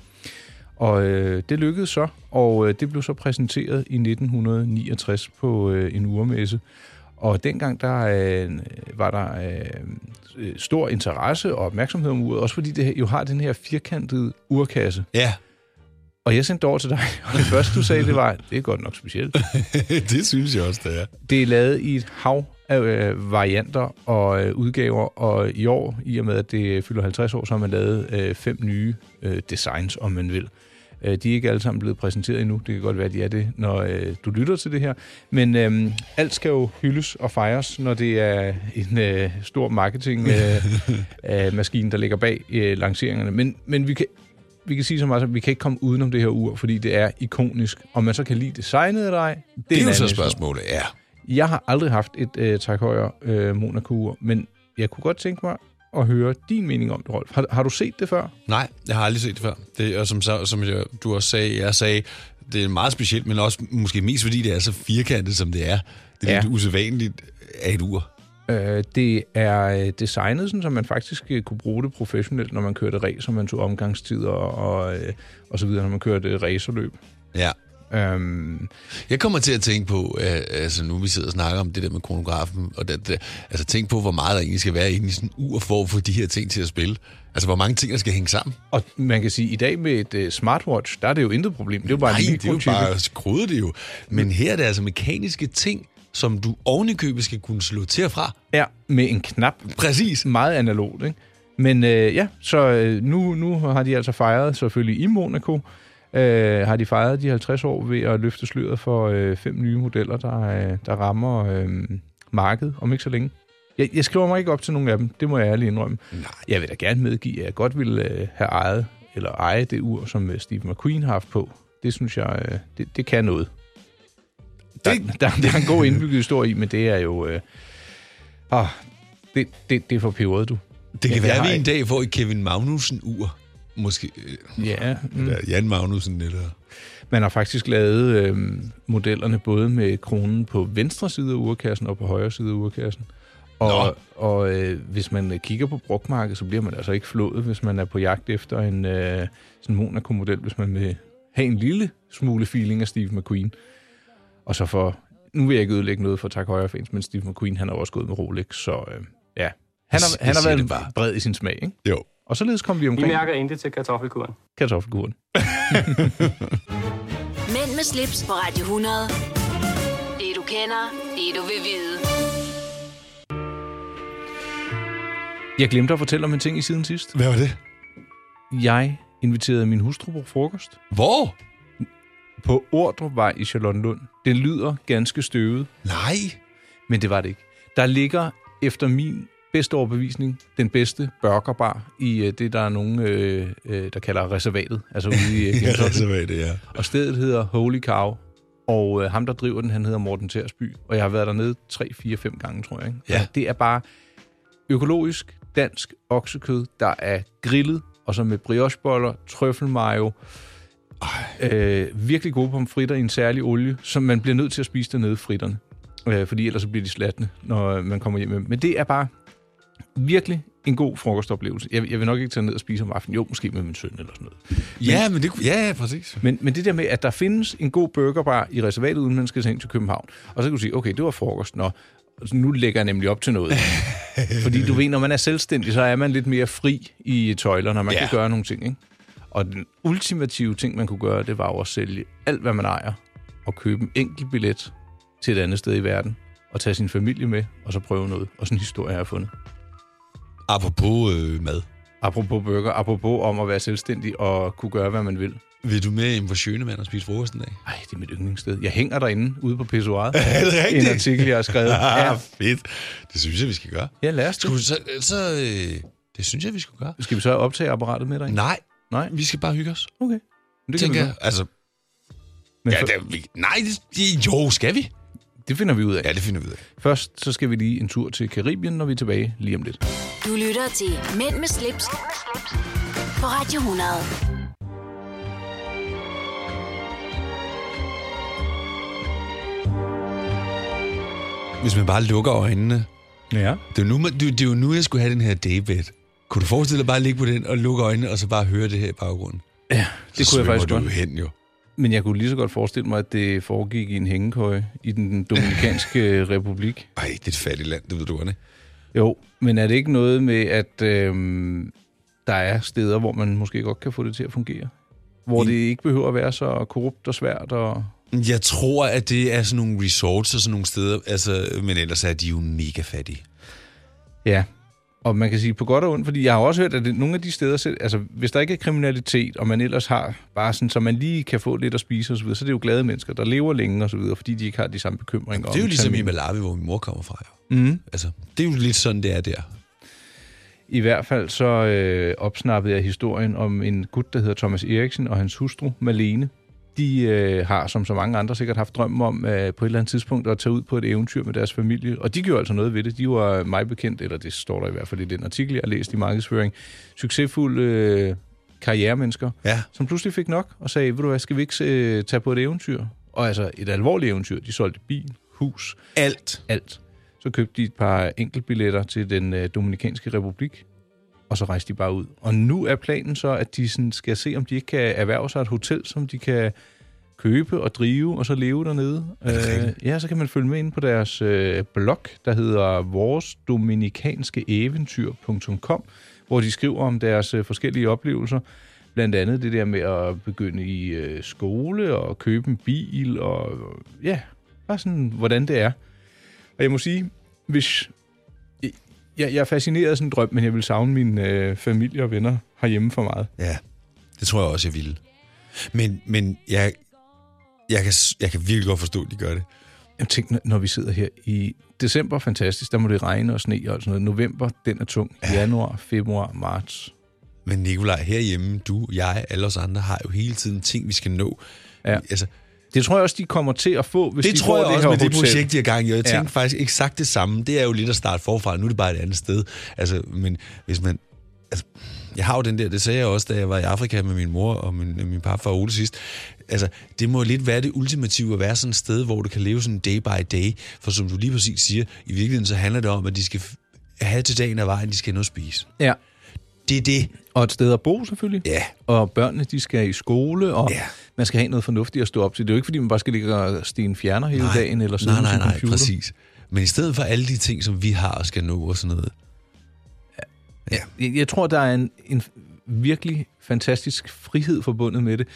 Og øh, det lykkedes så, og øh, det blev så præsenteret i 1969 på øh, en urmesse. Og dengang der øh, var der øh, øh, stor interesse og opmærksomhed om uret, også fordi det her- jo har den her firkantede urkasse.
Ja.
Og jeg sendte det over til dig, og det første du sagde, det var, det er godt nok specielt.
det synes jeg også, det er.
Det er lavet i et hav af øh, varianter og øh, udgaver, og i år, i og med at det fylder 50 år, så har man lavet øh, fem nye øh, designs, om man vil. Øh, de er ikke alle sammen blevet præsenteret endnu. Det kan godt være, at de er det, når øh, du lytter til det her. Men øh, alt skal jo hyldes og fejres, når det er en øh, stor marketingmaskine, øh, øh, maskine, der ligger bag øh, lanceringerne. Men, men vi kan vi kan sige så meget, som, vi kan ikke komme udenom det her ur, fordi det er ikonisk. Om man så kan lide designet eller ej, det er,
Det er
en
jo
anden
så
historie.
spørgsmålet, ja.
Jeg har aldrig haft et øh, Tak Højer øh, Monaco-ur, men jeg kunne godt tænke mig at høre din mening om det, Rolf. Har, har du set det før?
Nej, jeg har aldrig set det før. Det, og som, så- som jeg, du også sagde, jeg sagde, det er meget specielt, men også måske mest fordi det er så firkantet, som det er. Det er
Ja.
ja. lidt usædvanligt af et ur.
Øh, det er øh, designet, sådan, så man faktisk øh, kunne bruge det professionelt, når man kørte racer, man tog omgangstider og, øh, og så videre, når man kørte racerløb.
Ja.
Øhm,
Jeg kommer til at tænke på, øh, altså nu vi sidder og snakker om det der med kronografen, og det, det, altså tænk på, hvor meget der egentlig skal være inde i sådan en ur for at få de her ting til at spille. Altså hvor mange ting, der skal hænge sammen.
og man kan sige, at i dag med et øh, smartwatch, der er det jo intet problem. Det er jo bare
Nej,
en
det er jo
mikrochip.
bare skruet det jo. Men her er det altså mekaniske ting, som du ovenikøbet skal kunne slå til og fra.
Ja, med en knap.
Præcis.
meget analogt, ikke? Men øh, ja, så øh, nu, nu har de altså fejret, selvfølgelig i Monaco, øh, har de fejret de 50 år ved at løfte sløret for øh, fem nye modeller, der, øh, der rammer øh, markedet om ikke så længe. Jeg, jeg skriver mig ikke op til nogen af dem, det må jeg ærligt indrømme. Nej. Jeg vil da gerne medgive, at jeg godt ville øh, have ejet, eller eje det ur, som øh, Steve McQueen har haft på. Det synes jeg, øh, det, det kan noget. Der, der, der, er en god indbygget historie i, men det er jo... Øh, ah, åh, det, det, det er for peberet, du.
Det kan
Ja, jeg
være, at
har
vi en dag får et Kevin Magnussen-ur. Måske øh,
Ja, mm.
eller Jan Magnussen eller...
man har faktisk lavet øh, modellerne både med kronen på venstre side af urkassen og på højre side af urkassen. Og, og øh, hvis man øh, kigger på brugtmarkedet, så bliver man altså ikke flået, hvis man er på jagt efter en øh, sådan Monaco-model, hvis man vil have en lille smule feeling af Steve McQueen. Og så for, nu vil jeg ikke ødelægge noget for Tak Højre fans, men Steve McQueen, han har også gået med Rolex, så øh, ja. Han har,
Jeg
han har
siger
været
det bare.
bred i sin smag, ikke?
Jo.
Og således kom vi
Vi
omkring
mærker intet til kartoffelkuren.
kartoffelkuren.
Mænd med slips på Radio 100. Det du kender, det du vil vide.
Jeg glemte at fortælle om en ting i siden sidst.
Hvad var det?
Jeg inviterede min hustru på frokost
Hvor?
på Ordrupvej i Charlottenlund. Det lyder ganske støvet,
Nej.
men det var det ikke. Der ligger efter min bedste overbevisning den bedste burgerbar i øh, det, der er nogen, øh, øh, der kalder reservatet. Altså ude i øh,
Ja,
Gentofte.
så var det, ja.
Og stedet hedder Holy Cow Og øh, ham, der driver den, han hedder Morten Tersby. Og jeg har været dernede 3, 4, 5 gange, tror jeg. Ikke?
Ja.
Altså, det er bare økologisk dansk oksekød, der er grillet, og så med briocheboller, trøffelmayo, øh, virkelig gode pomfritter i en særlig olie, som man bliver nødt til at spise dernede, fritterne. Øh, fordi ellers så bliver de slatne, når øh, man kommer hjem. med dem. Men det er bare virkelig en god frokostoplevelse. Jeg, jeg vil nok ikke tage ned og spise om aftenen. Jo, måske med min søn eller sådan noget.
Ja, men det, kunne- ja, ja, præcis.
Men, men det der med, at der findes en god burgerbar i reservatet, uden man skal tage ind til København. Og så kan du sige, okay, det var frokost. Nå, altså, nu lægger jeg nemlig op til noget. Fordi du ved, når man er selvstændig, så er man lidt mere fri i tøjlerne, og man
Ja.
ja. kan gøre nogle ting. Ikke? Og den ultimative ting, man kunne gøre, det var jo at sælge alt, hvad man ejer, og købe en enkelt billet til et andet sted i verden, og tage sin familie med, og så prøve noget. Og sådan en historie har jeg fundet.
Apropos øh, mad.
Apropos burger, apropos om at være selvstændig og kunne gøre, hvad man vil.
Vil du med hjem på Sjønemand og spise frokost en dag?
Ej, det er mit yndlingssted. Jeg hænger derinde ude på pissoiret.
Er det rigtigt?
En artikel, jeg har skrevet.
ja,
Ja,
fedt. Det synes jeg, vi skal gøre.
ja lad os
Skulle
det.
vi så, så øh, det synes jeg, vi skulle gøre.
Skal vi så optage apparatet med dig?
Nej,
Nej.
vi skal bare hygge os.
Okay. Men
Det
kan vi
tænker
godt.
jeg. Altså,
Men
ja,
før-
det, vi, nej, det, det- jo, skal vi?
det finder vi ud af.
Ja, det finder vi ud af.
Først så skal vi lige en tur til Karibien, når vi er tilbage lige om lidt.
Du lytter til Mænd med slips, på Radio 100.
Hvis man bare lukker øjnene.
Ja.
Det er, jo nu, man- det, er- det er jo nu, jeg skulle have den her daybed. Kunne du forestille dig bare at ligge på den og lukke øjnene, og så bare høre det her i baggrunden?
Ja, det kunne jeg faktisk
du
godt.
jo hen, jo.
Men jeg kunne lige så godt forestille mig, at det foregik i en hængekøje i den Dominikanske øh, republik.
Ej, det er et fattigt land, det ved du godt, ikke?
Jo, men er det ikke noget med, at øhm, der er steder, hvor man måske godt kan få det til at fungere? Hvor det ikke behøver at være så korrupt og svært og...
Jeg tror, at det er sådan nogle resorts og sådan nogle steder, altså, men ellers er de jo mega fattige.
Ja, og man kan sige på godt og ondt, fordi jeg har også hørt, at det, nogle af de steder, selv, altså hvis der ikke er kriminalitet, og man ellers har bare sådan, så man lige kan få lidt at spise osv., så er det jo glade mennesker, der lever længe osv., fordi de ikke har de samme bekymringer.
Det er jo
om
ligesom i
termin.
Malawi, hvor min mor kommer fra, jo.
Mm.
Altså, det er jo lidt sådan, det er der.
I hvert fald så øh, opsnappede jeg historien om en gut, der hedder Thomas Eriksen, og hans hustru, Malene. De øh, har, som så mange andre, sikkert haft drømmen om øh, på et eller andet tidspunkt at tage ud på et eventyr med deres familie. Og de gjorde altså noget ved det. De var øh, mig bekendt, eller det står der i hvert fald i den artikel, jeg har læst i markedsføring, succesfulde øh, karrieremennesker,
Ja.
som pludselig fik nok og sagde, ved du hvad, skal vi ikke øh, tage på et eventyr? Og altså et alvorligt eventyr. De solgte bil, hus,
Alt.
alt. Så købte de et par enkeltbilletter til den øh, Dominikanske Republik, og så rejste de bare ud. Og nu er planen så, at de sådan skal se, om de ikke kan erhverve sig et hotel, som de kan købe og drive, og så leve dernede. Øh, ja, så kan man følge med ind på deres øh, blog, der hedder voresdominikanske-eventyr.com, hvor de skriver om deres øh, forskellige oplevelser. Blandt andet det der med at begynde i øh, skole og købe en bil, og ja, bare sådan, hvordan det er. Og jeg må sige, hvis... Jeg, jeg er fascineret af sådan en drøm, men jeg vil savne min øh, familie og venner herhjemme for meget.
Ja, det tror jeg også, jeg ville. Men, men jeg, jeg, kan, s- jeg kan virkelig godt forstå, at de gør det.
Jeg tænker, når vi sidder her i december, fantastisk, der må det regne og sne og alt sådan noget. November, den er tung. Januar, februar, marts.
Men Nikolaj, herhjemme, du, jeg, alle os andre, har jo hele tiden ting, vi skal nå.
Ja.
Altså,
Det tror jeg også, de kommer til at få, hvis
det
de
tror
får
jeg
det
også
her
med det
hotel.
projekt, de har gang i. Og jeg
Ja.
tænkte faktisk eksakt det samme. Det er jo lidt at starte forfra. Nu er det bare et andet sted. Altså, men hvis man... Altså, jeg har jo den der, det sagde jeg også, da jeg var i Afrika med min mor og min, min farfar Ole sidst. Altså, det må lidt være det ultimative at være sådan et sted, hvor du kan leve sådan day by day. For som du lige præcis siger, i virkeligheden så handler det om, at de skal f- have til dagen af vejen, de skal have noget at spise.
Ja.
Det er det.
Og et sted at bo, selvfølgelig.
Ja.
Og børnene, de skal i skole, og
Ja.
man skal have noget fornuftigt at stå op til. Det er jo ikke, fordi man bare skal ligge og stene fjerner hele dagen, eller sådan
nej, nej, nej,
computer.
præcis. Men i stedet for alle de ting, som vi har og skal nå og sådan noget.
Jeg, jeg tror, der er en, en virkelig fantastisk frihed forbundet med det.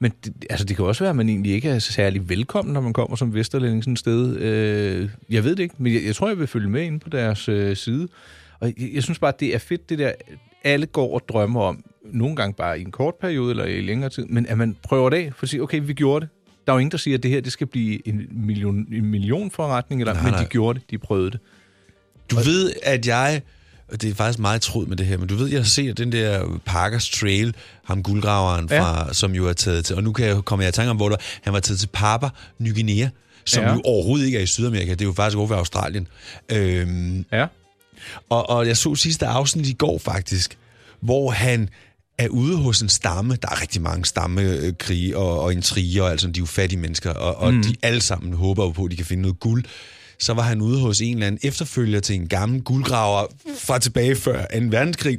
Men det, altså, det kan også være, at man egentlig ikke er særlig velkommen, når man kommer som vesterlænding sådan et sted. Øh, jeg ved det ikke, men jeg, jeg tror, jeg vil følge med ind på deres øh, side. Og jeg, jeg synes bare, det er fedt, det der, alle går og drømmer om, nogle gange bare i en kort periode eller i længere tid, men at man prøver det af for at sige, okay, vi gjorde det. Der er jo ingen, der siger, at det her det skal blive en, million, en millionforretning, eller,
Nej,
men
nej.
de gjorde det, de prøvede det.
Du ved, at jeg og det er faktisk meget trud med det her, men du ved, jeg ser den der Parkers Trail, ham guldgraveren,
Ja.
fra, ja. som jo er taget til, og nu kan jeg komme jeg i tanke om, hvor der, han var taget til Papua Ny Guinea, som
Ja.
ja. jo overhovedet ikke er i Sydamerika, det er jo faktisk over ved Australien. Øhm,
Ja.
og, og jeg så sidste afsnit i går faktisk, hvor han er ude hos en stamme. Der er rigtig mange stammekrige og, og intriger, og altså, de er jo fattige mennesker, og, og
Mm.
mm. de alle sammen håber jo på, at de kan finde noget guld. Så var han ude hos en eller anden efterfølger til en gammel guldgraver fra tilbage før 2. verdenskrig.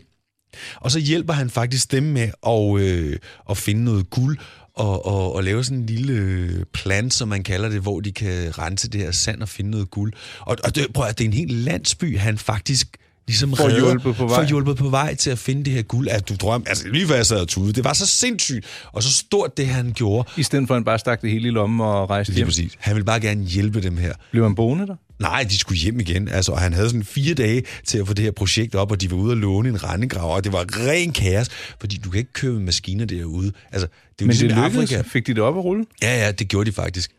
Og så hjælper han faktisk dem med at, øh, at finde noget guld og, og, og lave sådan en lille øh, plan, som man kalder det, hvor de kan rense det her sand og finde noget guld. Og, og det, prøv at, høre, det er en hel landsby, han faktisk ligesom
Får
redder-
hjulpet på vej.
får hjulpet på vej til at finde det her guld. At du drøm, altså lige før jeg sad og tude, det var så sindssygt, og så stort det han gjorde.
I stedet for, at han bare stak det hele i lommen og rejste
Lige
hjem.
præcis. Han ville bare gerne hjælpe dem her.
Blev han boende der?
Nej, de skulle hjem igen. Altså, og han havde sådan fire dage til at få det her projekt op, og de var ude og låne en rendegrav, og det var ren kaos, fordi du kan ikke købe maskiner derude. Altså, det er jo
Men det
ligesom i
lykkedes.
Afrika.
Fik de det op at rulle?
Ja, ja, det gjorde de faktisk.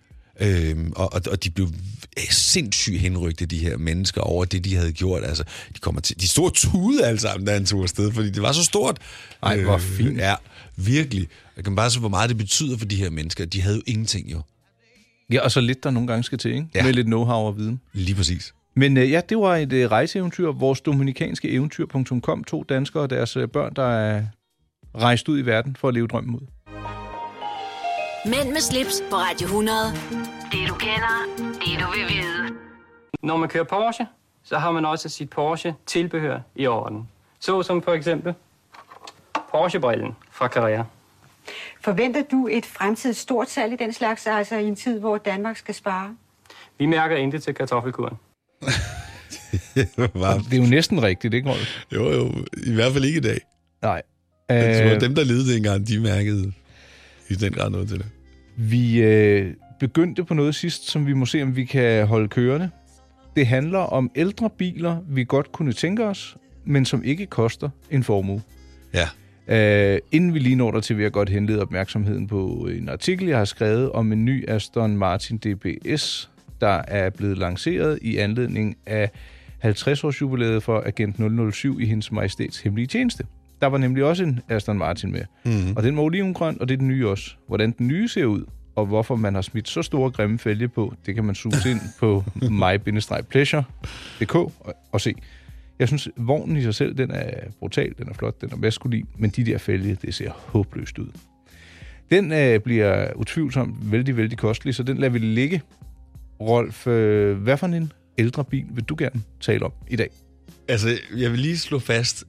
Øhm, og, og, og de blev øh, sindssygt henrygte, de her mennesker, over det, de havde gjort. Altså, de, kommer til, de stod og tude alle sammen, da han tog afsted, fordi det var så stort. Øh,
Ej, hvor fint.
Ja, virkelig. Jeg kan bare se, hvor meget det betyder for de her mennesker. De havde jo ingenting, jo.
Ja, og så lidt, der nogle gange skal til, ikke?
Ja.
Med lidt know-how og viden.
Lige præcis.
Men øh, ja, det var et øh, rejseeventyr. Vores dominikanske eventyr.com. To danskere og deres øh, børn, der er rejst ud i verden for at leve drømmen ud.
Mænd med slips på Radio 100. Det du kender, det du vil vide.
Når man kører Porsche, så har man også sit Porsche-tilbehør i orden. Så som for eksempel Porsche-brillen fra Carrera.
Forventer du et fremtidigt stort salg i den slags, altså i en tid, hvor Danmark skal spare?
Vi mærker intet til kartoffelkuren.
Og det er jo næsten rigtigt, ikke, Rolf?
Jo, jo. I hvert fald ikke i dag.
Nej.
Øh...
Øh,
Dem, der levede dengang, de mærkede i den grad noget til det.
vi øh, begyndte på noget sidst, som vi må se, om vi kan holde kørende. Det handler om ældre biler, vi godt kunne tænke os, men som ikke koster en formue.
Ja.
Øh, inden vi lige når der til, vil jeg godt henlede opmærksomheden på en artikel, jeg har skrevet om en ny Aston Martin DBS, der er blevet lanceret i anledning af 50-års jubilæet for Agent 007 i hendes majestæts hemmelige tjeneste. Der var nemlig også en Aston Martin med. Mm-hmm. Og den var olivengrøn, og det er den nye også. Hvordan den nye ser ud, og hvorfor man har smidt så store grimme fælge på, det kan man suge ind på my-pleasure.dk og, og se. Jeg synes, vognen i sig selv, den er brutal, den er flot, den er maskulin, men de der fælge, det ser håbløst ud. Den øh, bliver utvivlsomt vældig, vældig kostelig, så den lader vi ligge. Rolf, øh, hvad for en ældre bil vil du gerne tale om i dag?
Altså, jeg vil lige slå fast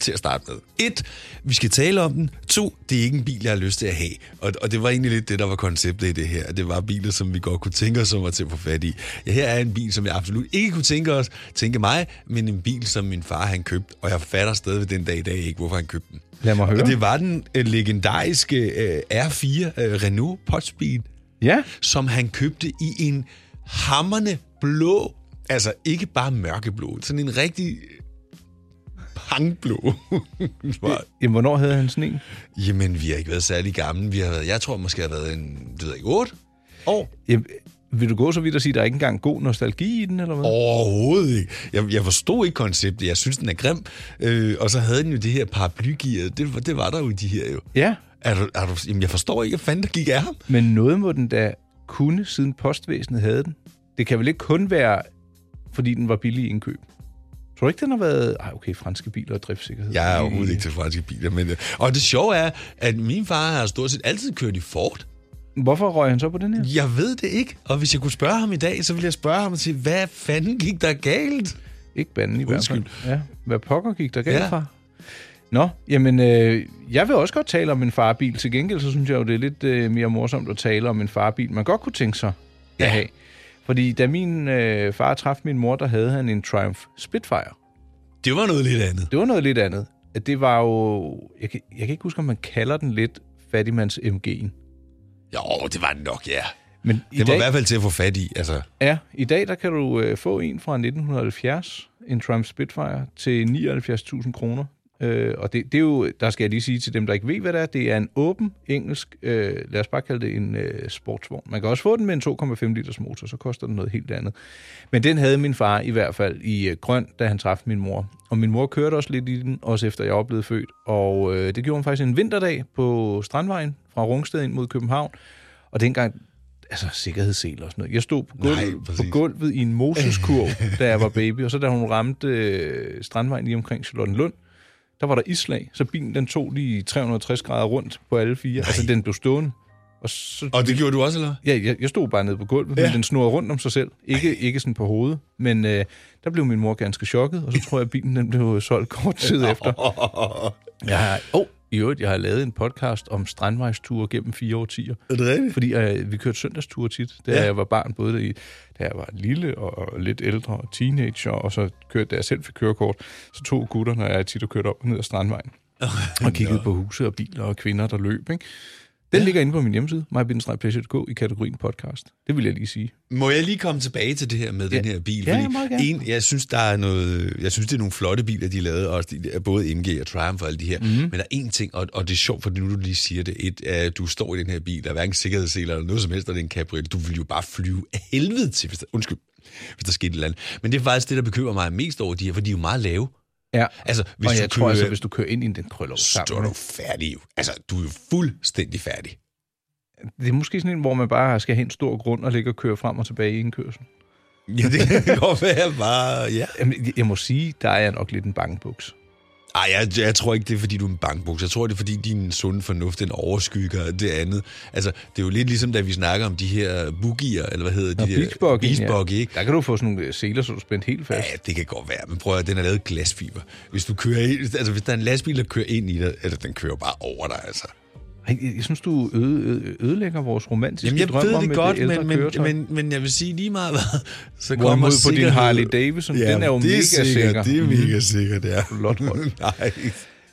til at starte med. Et, vi skal tale om den. To, det er ikke en bil, jeg har lyst til at have. Og, og det var egentlig lidt det, der var konceptet i det her. at Det var biler, som vi godt kunne tænke os som var til at få fat i. Ja, her er en bil, som jeg absolut ikke kunne tænke os, tænke mig, men en bil, som min far han købte, og jeg fatter stadigvæk den dag i dag ikke, hvorfor han købte den.
Lad mig høre.
Og det var den øh, legendariske øh, R4 øh, Renault Pottspeed,
Ja,
som han købte i en hammerne blå, altså ikke bare mørkeblå, sådan en rigtig pangblå. Var-
jamen hvornår havde han sådan en?
Jamen, vi har ikke været særlig gamle. Vi har været, jeg tror måske, jeg har været en, det ved jeg ikke, otte år.
Jamen, vil du gå så vidt og sige, at der er ikke engang god nostalgi i den, eller hvad?
Overhovedet ikke. Jeg, jeg forstod ikke konceptet. Jeg synes, den er grim. Øh, og så havde den jo det her paraplygear. Det, var- det var der jo i de her jo.
Ja,
Er du, er du, jamen, jeg forstår ikke, hvad fanden der gik af ham.
men noget må den da kunne, siden postvæsenet havde den. Det kan vel ikke kun være, fordi den var billig i indkøb. Tror du ikke, den har været... Ej, okay, franske biler og driftsikkerhed.
Jeg er overhovedet ikke til franske biler. Men, øh, og det sjove er, at min far har stort set altid kørt i Ford.
Hvorfor røg han så på den her?
Jeg ved det ikke, og hvis jeg kunne spørge ham i dag, så ville jeg spørge ham og sige, hvad fanden gik der galt?
Ikke banden i
Undskyld.
hvert fald. Ja. Hvad pokker gik der galt ja.
Ja.
fra? Nå, jamen, øh, jeg vil også godt tale om en farbil. Til gengæld, så synes jeg jo, det er lidt øh, mere morsomt at tale om en farbil, man godt kunne tænke sig ja. at have. Fordi da min øh, far traf min mor, der havde han en Triumph Spitfire.
Det var noget lidt andet.
Det var noget lidt andet. At Det var jo... Jeg kan, jeg kan ikke huske, om man kalder den lidt fattigmands MG'en.
Jo, det var det nok, ja.
Men
Det
i
var i
dag,
hvert fald til at få fat i, altså.
ja, i dag der kan du øh, få en fra 1970, en Triumph Spitfire, til 79.000 kroner. Øh, og det, det er jo, der skal jeg lige sige til dem, der ikke ved, hvad det er, det er en åben engelsk, øh, lad os bare kalde det en øh, sportsvogn. Man kan også få den med en 2,5 liters motor, så koster den noget helt andet. Men den havde min far i hvert fald i øh, grøn, da han træffede min mor. Og min mor kørte også lidt i den, også efter jeg var blevet født. Og øh, det gjorde hun faktisk en vinterdag på Strandvejen fra Rungsted ind mod København. Og dengang, altså sikkerhedssel og sådan noget. Jeg stod på gulvet, Nej, på gulvet i en moseskurv, da jeg var baby, og så da hun ramte øh, Strandvejen lige omkring Charlottenlund, der var der islag, så bilen den tog lige 360 grader rundt på alle fire. Nej. Altså, den blev stående. Og, så,
Og det gjorde du også, eller?
Ja, jeg, jeg stod bare nede på gulvet, ja.
Ja.
men den snurrede rundt om sig selv. Ikke, ikke sådan på hovedet, men øh, der blev min mor ganske chokket, og så tror jeg, at bilen den blev solgt kort tid efter. Jeg har, oh, i øvrigt, jeg har lavet en podcast om strandvejsture gennem fire årtier.
Er det rigtigt?
Fordi øh, vi kørte søndagsture tit, da
Ja.
ja. jeg var barn, både i, da jeg var lille og, og lidt ældre og teenager, og så kørte, da jeg selv fik kørekort, så tog gutterne og jeg tit og kørte op og ned ad Strandvejen og kiggede på huse og biler og kvinder, der løb. Ikke? Den ja. ligger inde på min hjemmeside, mybindestrejpleasure.dk, i kategorien podcast. Det vil jeg lige sige.
Må jeg lige komme tilbage til det her med ja. den her bil?
Ja,
Fordi
meget gerne.
En, jeg synes, der er noget, jeg synes, det er nogle flotte biler, de lavede, også de, der- både MG og Triumph og alle de her. Mm. Men der er én ting, og, og det er sjovt, for nu du lige siger det, et, uh, du står i den her bil, der er hverken sikkerhedsseler eller noget som helst, og det er en cabriolet. Du vil jo bare flyve af helvede til, hvis der, undskyld, hvis der skete et eller andet. Men det er faktisk det, der bekymrer mig mest over de her, for de er jo meget lave.
Ja.
Altså, hvis
og
du
jeg tror
kører-
altså, hvis du kører ind i den krøller
Så er
sammen.
du færdig jo. Altså, du er jo fuldstændig færdig.
Det er måske sådan en, hvor man bare skal have en stor grund og ligge og køre frem og tilbage i indkørsel.
Ja, det kan godt være bare, ja.
Jamen, jeg- jeg må sige, der er jeg nok lidt en bangebuks.
Ej, jeg, jeg tror ikke, det er, fordi du er en bankbuks. Jeg tror, det er, fordi din sunde fornuft, den overskygger det andet. Altså, det er jo lidt ligesom, da vi snakker om de her boogier, eller hvad hedder de
Nå,
der?
beachbuggy,
Beachbuggy, ikke?
Der kan du få sådan nogle øh, seler, så du er spændt helt fast.
Ja, det kan godt være, men prøv at høre, den er lavet af glasfiber. Hvis du kører ind, altså hvis der er en lastbil, der kører ind i dig, eller den kører bare over dig, altså.
Ej, Jeg, jeg synes, du øde, øde, ødelægger vores romantiske
Jamen, jeg
drømmer
ved det
med
godt,
det ældre
men, men,
køretøj.
men, men jeg vil sige lige meget hvad, så
Hvorimod
kommer
på din
sikkerhed-
Harley Davidson, den er jo
det
mega sikker.
sikkert, Det er
Mhm.
mega sikkert, ja.
Flot hold.
Nej.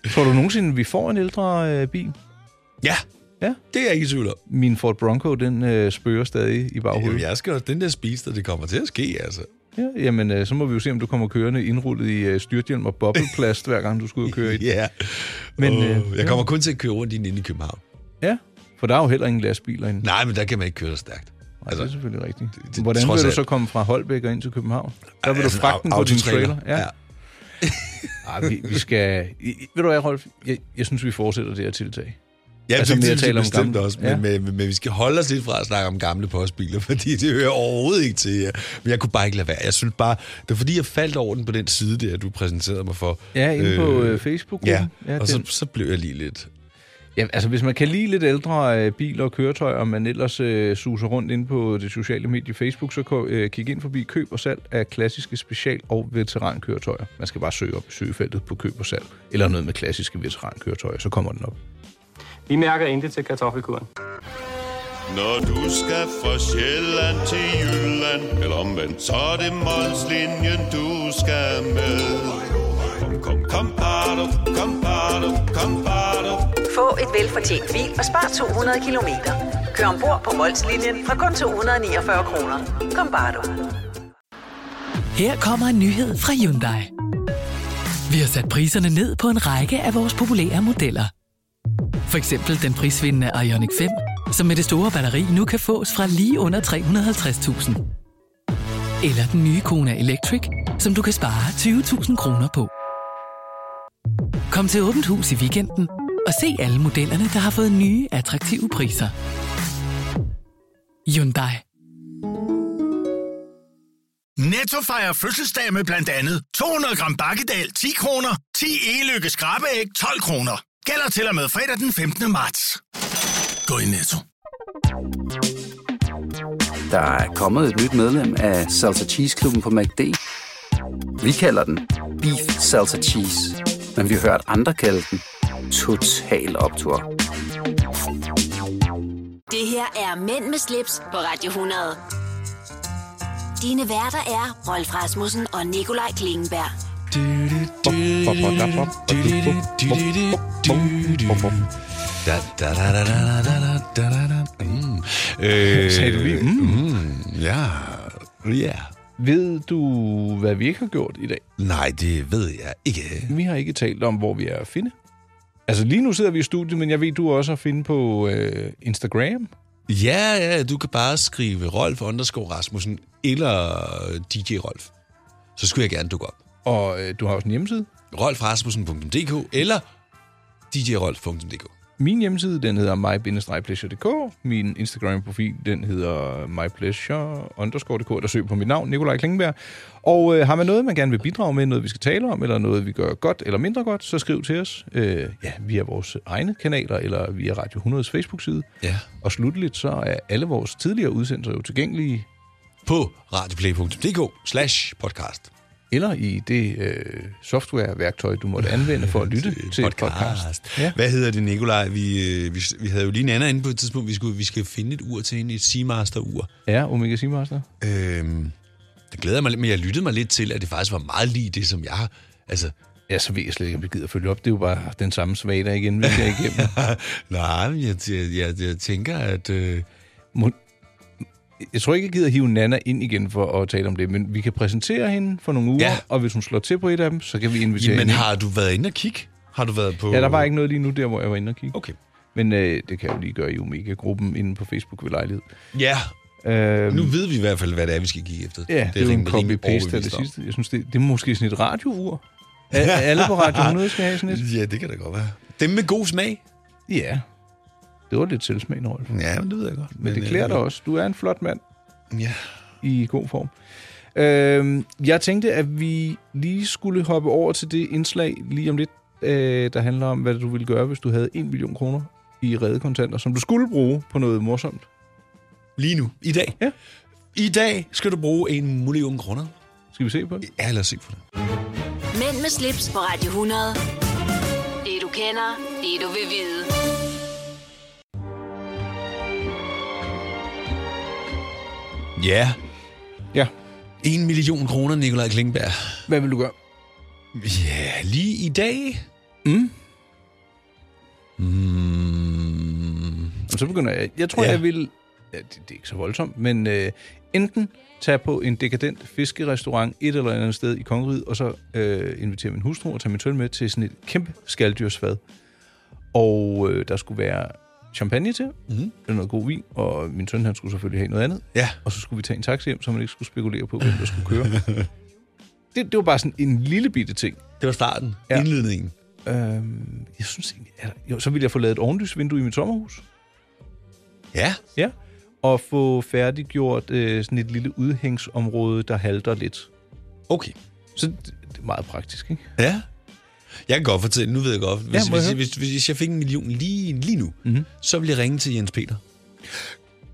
Tror du nogensinde, vi får en ældre øh, bil?
Ja,
Ja.
det er jeg ikke i tvivl om.
Min Ford Bronco, den øh, spørger stadig i
Jamen,
baghovedet.
jeg skal også, den der spise, det kommer til at ske, altså.
Ja, jamen, øh, så må vi jo se, om du kommer kørende indrullet i øh, styrthjelm og bobleplast, hver gang du skal ud og køre i den.
Ja,
Men,
men,
øh,
øh, jeg kommer kun til at køre rundt i den inde i København.
Ja, for der er jo heller ingen lastbiler inde.
Nej, men der kan man ikke køre så stærkt.
Altså, det er selvfølgelig rigtigt.
det-
Hvordan
trods
vil du
alt.
så komme fra Holbæk og ind til København? Der vil du
Altså,
fragte den på din
autotrailer.
trailer. Ja.
Ja.
Ej, vi, vi skal... I- I- Ved du hvad, Rolf? Jeg, jeg synes, vi fortsætter det her tiltag.
Ja,
Altså,
altså, det,
mere
det, det
tale
om
om
bestemt
gamle-
også, men,
Ja.
ja. men, men, men vi skal holde os lidt fra at snakke om gamle postbiler, fordi det hører overhovedet ikke til jer. Men jeg kunne bare ikke lade være. Jeg synes bare, det var fordi, jeg faldt over den på den side der, du præsenterede mig for.
Ja, inde på øh, facebook
Ja,
ja
ja og
den-
så, så blev jeg lige lidt...
Ja, altså hvis man kan lide lidt ældre øh, biler og køretøjer, og man ellers øh, suser rundt ind på det sociale medie Facebook, så ko- øh, kig ind forbi køb og salg af klassiske special- og veterankøretøjer. Man skal bare søge op i søgefeltet på køb og salg, eller noget med klassiske veterankøretøjer, så kommer den op.
Vi mærker intet til kartoffelkuren.
Når du skal fra Sjælland til Jylland Eller omvendt, så er det Molslinjen, du skal med Kom, kom, kom, bado, kom, bado, kom, bado.
Få et velfortjent bil og spar 200 kilometer. Kør ombord på Molslinjen fra kun 249 kroner. Kom bare du.
Her kommer en nyhed fra Hyundai. Vi har sat priserne ned på en række af vores populære modeller. For eksempel den prisvindende Ioniq 5, som med det store batteri nu kan fås fra lige under 350.000. Eller den nye Kona Electric, som du kan spare 20.000 kroner på. Kom til Åbent Hus i weekenden og se alle modellerne, der har fået nye, attraktive priser. Hyundai.
Netto fejrer fødselsdag med blandt andet 200 gram bakkedal 10 kroner, 10 e-lykke skrabeæg 12 kroner. Gælder til og med fredag den 15. marts. Gå i Netto.
Der er kommet et nyt medlem af Salsa Cheese Klubben på MACD. Vi kalder den Beef Salsa Cheese, men vi har hørt andre kalde den Total Optor.
Det her er Mænd med slips på Radio 100. Dine værter er Rolf Rasmussen og Nikolaj Klingenberg.
Øh, Da, da, da, da, da, da, da, da, da, da. Mm. Øh,
Sagde du lige, mm?
mm, Ja, ja.
Ved du, hvad vi ikke har gjort i dag?
Nej, det ved jeg ikke.
Vi har ikke talt om, hvor vi er at finde. Altså lige nu sidder vi i studiet, men jeg ved, du er også at finde på øh, Instagram.
Ja, ja, du kan bare skrive Rolf underscore Rasmussen eller DJ Rolf. Så skulle jeg gerne dukke op.
Og øh, du har også en hjemmeside?
rolfrasmussen.dk eller djrolf.dk.
Min hjemmeside, den hedder my-pleasure.dk. Min Instagram-profil, den hedder mypleasure.dk. Der søg på mit navn, Nikolaj Klingenberg. Og øh, har man noget, man gerne vil bidrage med, noget vi skal tale om, eller noget vi gør godt eller mindre godt, så skriv til os øh, ja, via vores egne kanaler eller via Radio 100's Facebook-side.
Ja.
Og slutteligt så er alle vores tidligere udsendelser jo tilgængelige
på radioplay.dk slash podcast.
Eller i det øh, softwareværktøj, du måtte anvende for at lytte til, til podcast. podcast.
Ja. Hvad hedder det, Nikolaj? Vi, øh, vi, vi havde jo lige en anden inde på et tidspunkt. Vi, skulle, vi skal finde et ur til hende, et Seamaster-ur.
Ja, Omega Seamaster.
Øhm, det glæder jeg mig lidt, men jeg lyttede mig lidt til, at det faktisk var meget lige det, som jeg... Altså,
Ja, så ved jeg slet ikke, om vi gider at følge op. Det er jo bare den samme svagdag igen, vi skal igennem.
Nej, men jeg, jeg, jeg, jeg tænker, at... Øh,
Må, jeg tror ikke, jeg gider hive Nana ind igen for at tale om det, men vi kan præsentere hende for nogle uger, ja.
Ja.
og hvis hun slår til på et af dem, så kan vi invitere
Jamen,
hende.
har du været inde og kigge? Har du været på...
Ja, der var ikke noget lige nu der, hvor jeg var inde og kigge.
Okay.
Men øh, det kan jeg jo lige gøre i Omega-gruppen inde på Facebook ved lejlighed.
Ja,
Øhm,
nu ved vi i hvert fald, hvad det er, vi skal kigge efter.
Ja, det er jo en
rimelig- rimelig
copy-paste af det
overbevist om.
sidste. Jeg synes, det, det er måske sådan et radiovur. Er- er Alle på Radio 100 skal have sådan et.
Ja, det kan da godt være. Dem med god smag?
Ja. Det var lidt selvsmagende, Rolf.
Ja, men det ved jeg godt.
Mm, Men øh, det klæder dig også. Du er en flot mand
Ja.
i god form. Øhm, jeg tænkte, at vi lige skulle hoppe over til det indslag lige om lidt, øh, der handler om, hvad du ville gøre, hvis du havde 1 million kroner i redekontanter, som du skulle bruge på noget morsomt.
Lige nu, i dag.
Ja.
I dag skal du bruge en million kroner.
Skal vi se på det?
Ja, lad os se på det.
Mænd med slips på Radio 100. Det du kender, det du vil vide.
Ja.
Ja.
En million kroner, Nikolaj Klingberg.
Hvad vil du gøre?
Ja, lige i dag.
Mm.
Mm.
Og så begynder jeg. Jeg tror, ja.
Ja.
jeg vil... Ja, det, det er ikke så voldsomt, men øh, enten tage på en dekadent fiskerestaurant et eller andet sted i Kongeriget, og så øh, invitere min hustru og tage min tøn med til sådan et kæmpe skalddyrsfad. Og øh, der skulle være champagne til,
Mhm.
mm-hmm. noget god vin, og min søn han skulle selvfølgelig have noget andet.
Ja.
Og så skulle vi tage en taxi hjem, så man ikke skulle spekulere på, hvem der skulle køre. det, det var bare sådan en lille bitte ting.
Det var starten.
Ja.
Ja. Indledningen.
Øhm, jeg synes egentlig... er der- Jo, så ville jeg få lavet et ovenlysvindue i mit sommerhus.
Ja.
Ja, og få færdiggjort øh, sådan et lille udhængsområde, der halter lidt.
Okay.
Så det, det er meget praktisk, ikke?
Ja. Jeg kan godt fortælle, nu ved jeg godt. Hvis,
Ja,
ja,
må jeg
hvis,
høre?
hvis, hvis, hvis jeg fik en million lige, lige nu, mm-hmm. så ville jeg ringe til Jens Peter.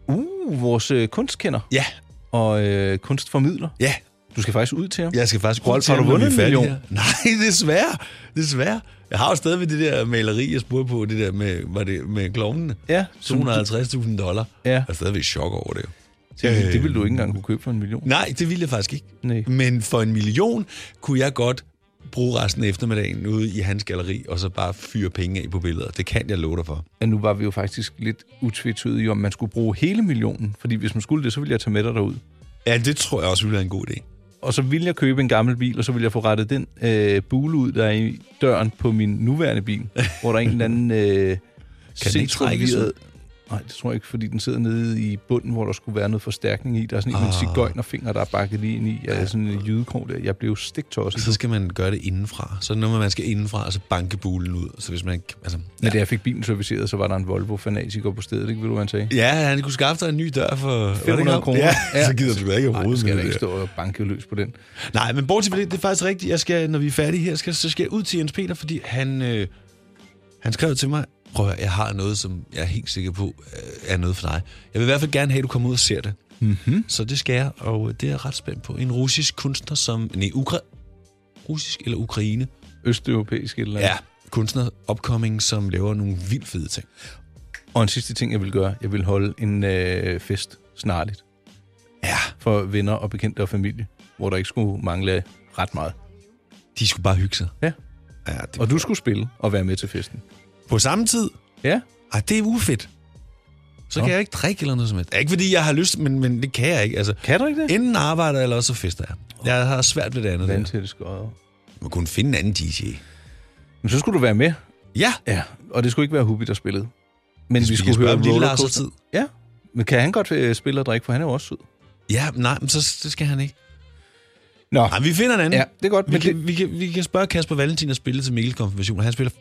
Uh, vores øh, kunstkender
Ja.
og øh, kunstformidler.
Ja.
Du skal faktisk ud til ham.
Jeg skal faktisk
Rolf,
ud til
har du
ham, når
vundet
vi er
en
færdige
million?
her. Nej, desværre. Desværre. Jeg har jo stadigvæk det der maleri, jeg spurgte på, det der med, var det med klovnene.
Ja, som du-
250.000 dollar.
Ja.
Jeg er stadigvæk i chok over det. jo.
Det, det ville du ikke engang kunne købe for en million.
Nej, det ville jeg faktisk ikke.
Nej.
Men for en million kunne jeg godt bruge resten af eftermiddagen ude i hans galeri, og så bare fyre penge af på billeder. Det kan jeg love dig for.
Og nu var vi jo faktisk lidt utvetydige om, man skulle bruge hele millionen. Fordi hvis man skulle det, så ville jeg tage med dig derud.
Ja, det tror jeg også ville være en god idé.
Og så ville jeg købe en gammel bil, og så ville jeg få rettet den øh, bule ud, der er i døren på min nuværende bil, hvor der er en eller anden... Øh,
Kan den ikke trækkes ud?
centralvirret- Nej, det tror jeg ikke, fordi den sidder nede i bunden, hvor der skulle være noget forstærkning i. Der er sådan en
Ah.
oh. cigøjnerfinger, der er bakket lige ind i. Jeg er sådan en jydekrog der. Jeg blev stiktosset.
Så skal man gøre det indenfra. Så når man skal indenfra, så banke bulen ud. Så hvis man ikke... Altså,
Men da jeg fik bilen serviceret, så var der en Volvo-fanatiker på stedet, ikke vil du, han sagde?
Ja, han kunne skaffe dig en ny dør for... var det ikke
500
ham?
kroner.
Ja, så gider du da ikke at
Nej,
rode
skal
med
jeg da
det
ikke
der.
stå og banke løs på den.
Nej, men bortset fra det, det er faktisk rigtigt. Jeg skal, når vi er færdige her, skal, så skal jeg ud til Jens Peter, fordi han, øh, han skrev til mig, prøv at høre, jeg har noget, som jeg er helt sikker på øh, er noget for dig. Jeg vil i hvert fald gerne have, at du kommer ud og ser det.
Mm-hmm.
Så det skal jeg, og øh, det er jeg ret spændt på. En russisk kunstner, som... Nej, ukra- russisk eller ukraine.
Østeuropæisk et eller andet.
Ja, kunstner upcoming, som laver nogle vildt fede ting.
Og en sidste ting, jeg vil gøre, jeg vil holde en øh, fest snarligt.
Ja.
For venner og bekendte og familie, hvor der ikke skulle mangle ret meget.
De skulle bare hygge sig.
Ja.
Ja, det,
Og du skulle spille og være med til festen.
på samme tid.
Ja,
Ej, det er ufedt. Så kan jeg ikke drikke eller noget som helst. Ikke fordi jeg har lyst, men, men det kan jeg ikke. Altså,
kan du ikke det?
Enten arbejder jeg, eller også så fester jeg. Jeg har svært ved det andet.
Vand til det skøjet.
Man kunne finde en anden DJ.
Men så skulle du være med.
Ja.
Ja, og det skulle ikke være Hubi, der spillede. Men vi
kan
skulle
spørge
høre
om Lille Lars har
Rollercoaster. Ja, men kan han godt øh, spille og drikke, for han er jo også sød.
Ja, nej, men så det skal han ikke.
Nå.
Nej, vi finder en anden.
Ja, det er godt,
Vi,
men
kan, vi, kan, vi kan spørge Kasper Valentin at spille til Mikkel Konfirmation. Han spiller...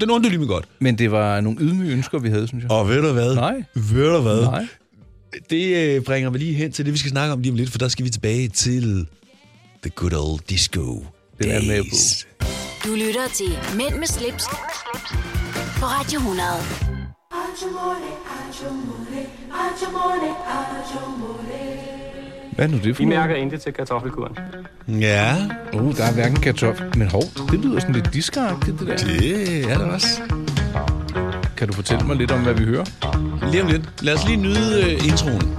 Den undte lige mig godt.
Men det var nogle ydmyge ønsker, vi havde, synes jeg.
Og ved du hvad?
Nej.
Ved du hvad?
Nej.
Det øh, bringer mig lige hen til det, vi skal snakke om lige om lidt, for der skal vi tilbage til The Good Old Disco
Den er
Days.
med
Du lytter til Mænd med slips, på Radio 100.
Hvad er nu det for
Vi
noget?
mærker intet til kartoffelkuren.
Ja.
Uh, der er hverken kartoffel. Men hov, det lyder sådan lidt diskeragtigt, det der.
Det er det også.
Kan du fortælle mig lidt om, hvad vi hører?
Lige om lidt. Lad os lige nyde øh, introen.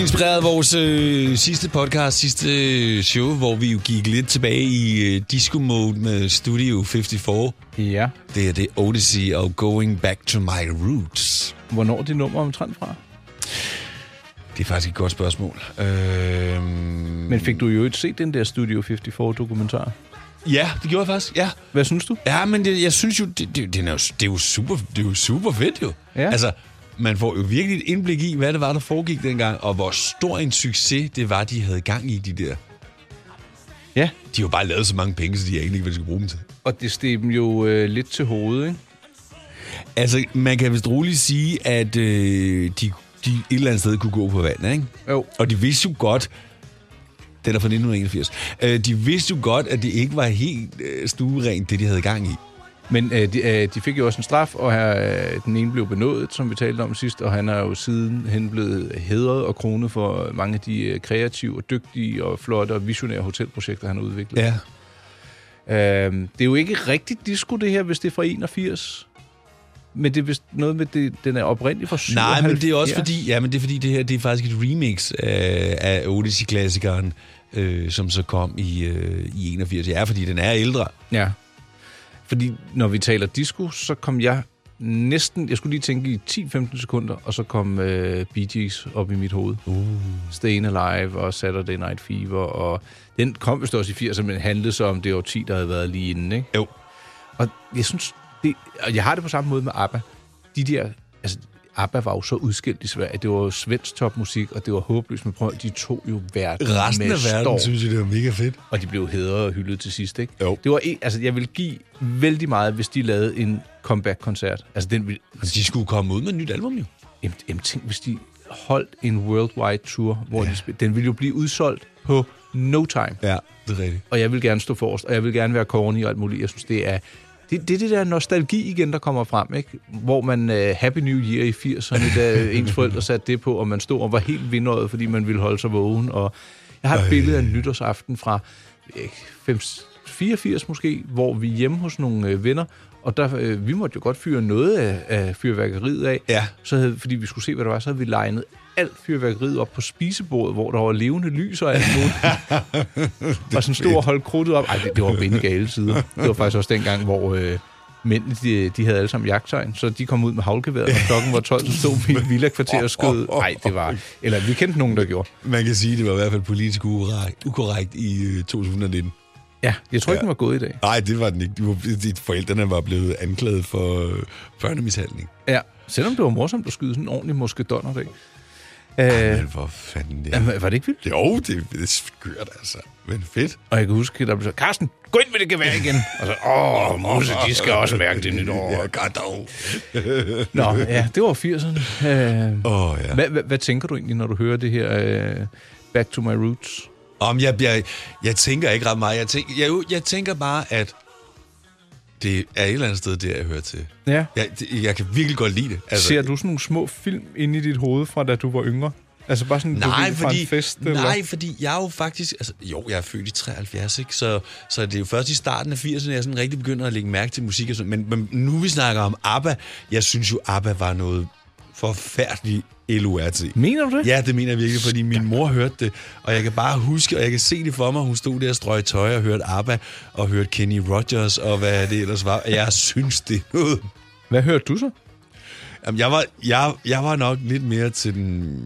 Inspireret af vores øh, sidste podcast, sidste øh, show, hvor vi jo gik lidt tilbage i øh, disco-mode med Studio 54.
Ja.
Det er det Odyssey og Going Back to My Roots.
Hvornår er det nummer omtrent fra?
Det er faktisk et godt spørgsmål. Øhm, Øh,
Men fik du jo ikke set den der Studio 54-dokumentar?
ja, det gjorde jeg faktisk, ja.
Hvad synes du?
Ja, men det, jeg synes jo, det, det, det, er jo, det, er jo super, det er jo super fedt jo.
Ja.
Altså, man får jo virkelig et indblik i, hvad det var, der foregik dengang, og hvor stor en succes det var, de havde gang i, de der.
Ja.
De har jo bare lavet så mange penge, så de har egentlig ikke, hvad de skal bruge dem til.
Og det steg dem jo øh, lidt til hovedet, ikke?
Altså, man kan vist roligt sige, at øh, de, de et eller andet sted kunne gå på vandet, ikke?
Jo.
Og de vidste jo godt, den er fra 1981, øh, de vidste jo godt, at det ikke var helt øh, stuerent, det de havde gang i.
Men øh, de, øh, de fik jo også en straf, og her, øh, den ene blev benådet, som vi talte om sidst, og han er jo sidenhen blevet hedret og kronet for mange af de øh, kreative og dygtige og flotte og visionære hotelprojekter, han har udviklet.
Ja.
Øh, det er jo ikke rigtigt disco, det her, hvis det er fra 81. Men det er vist noget med, det, den er oprindelig fra 77.
Nej, men det er også fordi, ja, men det er fordi det her det er faktisk et remix øh, af Odyssey-klassikeren, øh, som så kom i, øh, i 81. Ja, fordi den er ældre.
Ja. Fordi når vi taler disco, så kom jeg næsten... Jeg skulle lige tænke i 10-15 sekunder, og så kom øh, Bee Gees op i mit hoved.
Uh.
Stayin' Alive og Saturday Night Fever, og den kom vist også i 80'erne, men handlede så om det årti, der havde været lige inden, ikke?
Jo.
Og jeg synes... Det, og jeg har det på samme måde med ABBA. De der... Altså, ABBA var jo så udskilt i Sverige. Det var jo svensk topmusik, og det var håbløst. Men prøv at- de to jo verden
Resten af
med
verden
storm.
synes jeg, det er mega fedt.
Og de blev hedret og hyldet til sidst, ikke?
Jo.
Det var en, altså, jeg vil give vældig meget, hvis de lavede en comeback-koncert. Altså, den ville...
De skulle komme ud med et nyt album, jo.
Jamen, jamen, tænk, hvis de holdt en worldwide tour, hvor ja. de spil, Den ville jo blive udsolgt på no time.
Ja, det er rigtigt.
Og jeg vil gerne stå forrest, og jeg vil gerne være corny og alt muligt. Jeg synes, det er... Det, det er det der nostalgi igen, der kommer frem, ikke? Hvor man uh, Happy New Year i 80'erne, da ens forældre satte det på, og man stod og var helt vindøjet, fordi man ville holde sig vågen. Og jeg har et billede af en nytårsaften fra jeg ikke, 5, 84 måske, hvor vi er hjemme hos nogle øh, venner, og der, øh, vi måtte jo godt fyre noget af, af fyrværkeriet af,
Ja.
så havde, fordi vi skulle se, hvad der var, så havde vi legnet alt fyrværkeriet op på spisebordet, hvor der var levende lys og alt muligt. og sådan stod og holdt krudtet op. Ej, det, det var bindegale sider. Det var faktisk også dengang, hvor øh, mændene, de, de havde alle sammen jagttegn, så de kom ud med havlgeværet, og klokken var 12, så stod vi i et villakvarter og skød. Nej, det var... Eller vi kendte nogen, der gjorde.
Man kan sige, det var i hvert fald politisk ukorrekt, ukorrekt i øh, 2019.
Ja, jeg tror ikke, den var gået i dag.
Nej, det var den ikke. De var, de, forældrene var blevet anklaget for øh, børnemishandling.
Ja, selvom det var morsomt at skyde sådan en ordentlig moskedonner dag.
Øh.
Øh,
Men hvor fanden det
jamen, var det ikke vildt?
Jo, det, det er skørt, altså. Men fedt.
Og jeg kan huske, der blev så, Carsten, gå ind med det gevær igen. Og så, åh, Mose, de skal også mærke det nyt år.
Ja, godt dog.
Nå, ja, det var 80'erne. Øh,
Åh, oh, ja.
hvad, hvad, hvad tænker du egentlig, når du hører det her øh, Back to my roots?
Om jeg, jeg, jeg tænker ikke ret meget. Jeg tænker, jeg, jeg tænker bare, at det er et eller andet sted, det jeg hører til.
Ja.
Jeg, det, jeg kan virkelig godt lide det.
Altså, Ser du sådan nogle små film inde i dit hoved fra, da du var yngre? Altså bare sådan, du
Nej,
ved, fra
fordi,
en fest?
nej, fordi jeg er jo faktisk... Altså, jo, jeg er født i 73, ikke? Så, så det er jo først i starten af 80'erne, jeg sådan rigtig begynder at lægge mærke til musik og sådan. Men, men nu vi snakker om ABBA, jeg synes jo, ABBA var noget forfærdelig LURT.
Mener du det?
Ja, det mener jeg virkelig, fordi min mor hørte det, og jeg kan bare huske, og jeg kan se det for mig, hun stod der og strøg tøj og hørte ABBA, og hørte Kenny Rogers, og hvad det ellers var. Jeg synes det er noget.
Hvad hørte du så?
Jamen, jeg var, jeg, jeg var nok lidt mere til den...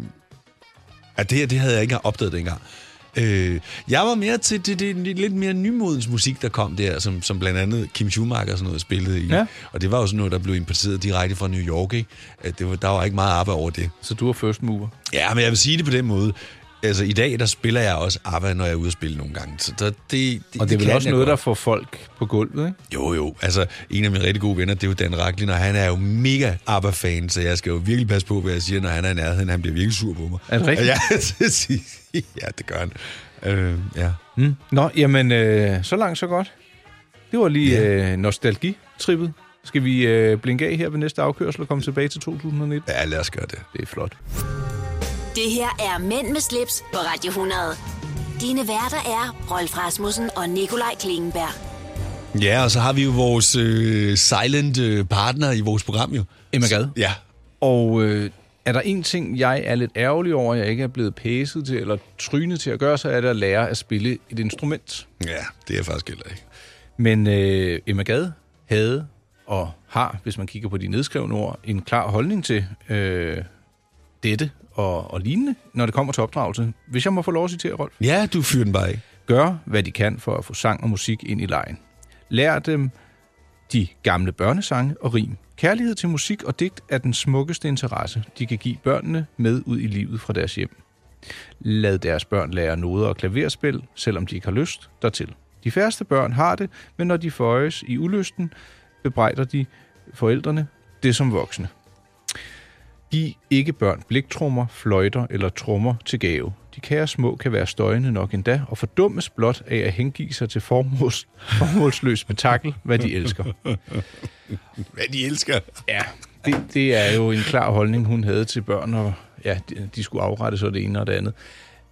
Ja, det her, det havde jeg ikke engang opdaget dengang. Øh, jeg var mere til det, det, det lidt mere nymodens musik, der kom der, som, som blandt andet Kim Schumacher og sådan noget spillede i.
Ja.
Og det var jo sådan noget, der blev importeret direkte fra New York, ikke? Øh, Det var, der var ikke meget arbejde over det.
Så du var first mover?
Ja, men jeg vil sige det på den måde. Altså, i dag, der spiller jeg også ABBA, når jeg er ude at spille nogle gange. Så der, det, det,
Og det er vel
kan
også
jeg
noget,
godt.
der får folk på gulvet, ikke?
Jo, jo. Altså, en af mine rigtig gode venner, det er jo Dan Racklin, og han er jo mega ABBA-fan, så jeg skal jo virkelig passe på, hvad jeg siger, når han er i nærheden. Han bliver virkelig sur på mig.
Er det rigtigt?
Ja, det siger- ja, det gør han. Øh, ja.
Mm. Nå, jamen, øh, så langt, så godt. Det var lige yeah. øh, nostalgitrippet. Skal vi øh, blinke af her ved næste afkørsel og komme tilbage til 2019?
Ja, lad os gøre det.
Det er flot.
Det her er Mænd med slips på Radio 100. Dine værter er Rolf Rasmussen og Nikolaj Klingenberg.
Ja, og så har vi jo vores øh, silent øh, partner i vores program, jo.
Emma Gad.
Ja.
Og øh, er der en ting, jeg er lidt ærgerlig over, jeg ikke er blevet pæset til eller trynet til at gøre, så er det at lære at spille et instrument.
Ja, det er jeg faktisk heller ikke.
Men øh, Emma Gad havde og har, hvis man kigger på de nedskrevne ord, en klar holdning til øh, dette og, og lignende, når det kommer til opdragelse. Hvis jeg må få lov at citere, Rolf.
Ja, du fyrer den bare af.
Gør, hvad de kan for at få sang og musik ind i lejen. Lær dem de gamle børnesange og rim. Kærlighed til musik og digt er den smukkeste interesse, de kan give børnene med ud i livet fra deres hjem. Lad deres børn lære noder og klaverspil, selvom de ikke har lyst dertil. De færreste børn har det, men når de føjes i ulysten, bebrejder de forældrene det som voksne. Giv ikke børn bliktrummer, fløjter eller trommer til gave. De kære små kan være støjende nok endda, og fordummes blot af at hengive sig til formåls, formålsløs spektakel, hvad de elsker.
Hvad de elsker.
Ja. Det, det er jo en klar holdning, hun havde til børn, og ja, de, de skulle afrette så det ene og det andet.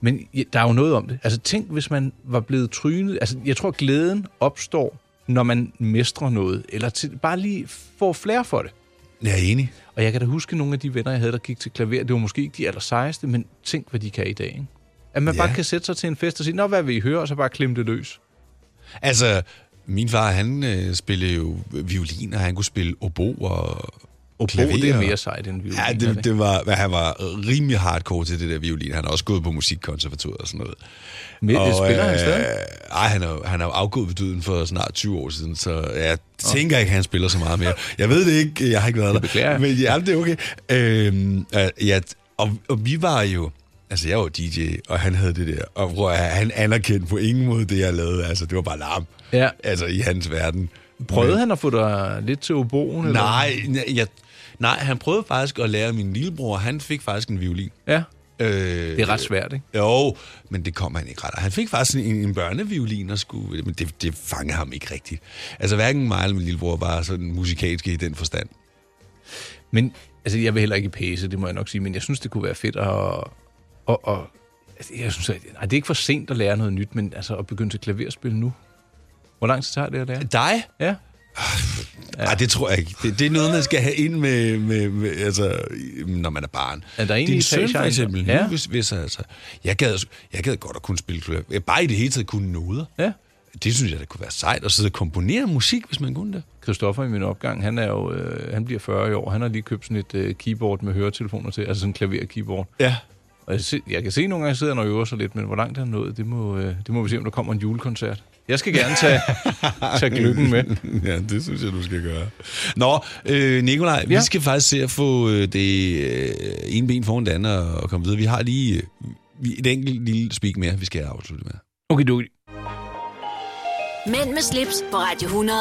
Men ja, der er jo noget om det. Altså tænk, hvis man var blevet trynet. Altså jeg tror, glæden opstår, når man mestrer noget, eller til, bare lige får flere for det.
Jeg er enig.
Og jeg kan da huske nogle af de venner, jeg havde, der gik til klaver. Det var måske ikke de aller sejeste, men tænk, hvad de kan i dag. Ikke? At man
Ja.
ja. bare kan sætte sig til en fest og sige, Nå, hvad vil I høre? Og så bare klemme det løs.
Altså, min far, han øh, spillede jo violin, og han kunne spille obo og
Obo,
klaver.
det er mere sejt end violin,
Ja,
er
det,
det?
det var, hvad, han var rimelig hardcore til det der violin. Han har også gået på musikkonservatoriet og sådan noget.
Men, spiller han stadig?
Nej, øh, han er, jo- han er jo afgået ved døden for snart 20 år siden, så jeg tænker ikke, han spiller så meget mere. Jeg ved det ikke, jeg har ikke været der.
beklager.
Men ja, det er okay. Øhm, øh, ja, og, og vi var jo... Altså, jeg var DJ, og han havde det der. Og prøv at høre, han anerkendte på ingen måde det, jeg lavede. Altså, det var bare larm.
Ja.
Altså, i hans verden.
Prøvede han at få dig lidt til oboen? Eller?
Nej, nej, jeg, nej, han prøvede faktisk at lære min lillebror. Han fik faktisk en violin.
Ja.
Øh,
Det er ret svært, ikke?
Jo, men det kom han ikke ret. af. Han fik faktisk en, en børneviolin og skulle, men det, det fangede ham ikke rigtigt. Altså hverken mig eller min lillebror var sådan musikalske i den forstand.
Men altså, jeg vil heller ikke pæse, det må jeg nok sige, men jeg synes, det kunne være fedt at... Og, og, altså, jeg synes, at, nej, det er ikke for sent at lære noget nyt, men altså at begynde til klaverspil nu. Hvor lang tid tager det at lære?
Dig?
Ja.
Ja. Ej, det tror jeg ikke. Det, det er noget, man skal have ind med, med, med altså, i- når man er barn.
Er der en
Din
i
søn for
etagen?
eksempel. Ja.
Ja.
Nu, hvis, hvis, altså, jeg, gad, jeg gad godt at kunne spille klaver. Bare i det hele taget kunne noder.
Ja.
Det synes jeg, det kunne være sejt at sidde og komponere musik, hvis man kunne det.
Christoffer i min opgang, han, er jo, øh, han bliver 40 i år. Han har lige købt sådan et øh, keyboard med høretelefoner til, altså sådan en klaver-keyboard.
Ja.
Og jeg, se, jeg kan se nogle gange, sidder han og øver sig lidt, men hvor langt han er nået, det må, øh, det må vi se, om der kommer en julekoncert. Jeg skal gerne tage, tage gløggen med.
ja, det synes jeg, du skal gøre. Nå, øh, Nikolaj, ja.
Ja.
vi skal faktisk se at få øh, det øh, ene ben foran det andet og, og komme videre. Vi har lige øh, vi- et enkelt lille speak mere, vi skal afslutte med.
Okay, du,
Mænd med slips på Radio 100.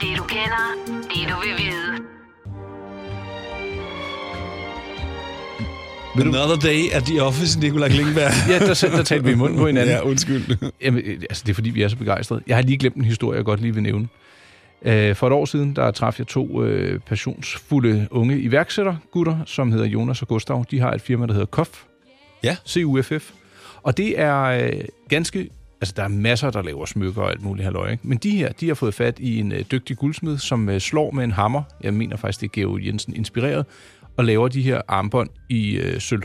Det du kender, det du vil vide.
Another day at the office, Nikolaj Klingberg.
Ja, der, der talte vi i munden på hinanden.
ja, undskyld.
Jamen, øh, altså, det er fordi, vi er så begejstrede. Jeg har lige glemt en historie, jeg godt lige vil nævne. Øh, For et år siden, der traf jeg to øh, passionsfulde unge iværksættergutter, som hedder Jonas og Gustav. De har et firma, der hedder KOF.
Ja.
CUFF. Og det er øh, ganske... Altså, der er masser, der laver smykker og alt muligt halløj, ikke? Men de her, de har fået fat i en øh, dygtig guldsmed, som øh, slår med en hammer. Jeg mener faktisk, det er Georg Jensen inspireret. og laver de her armbånd i øh, sølv.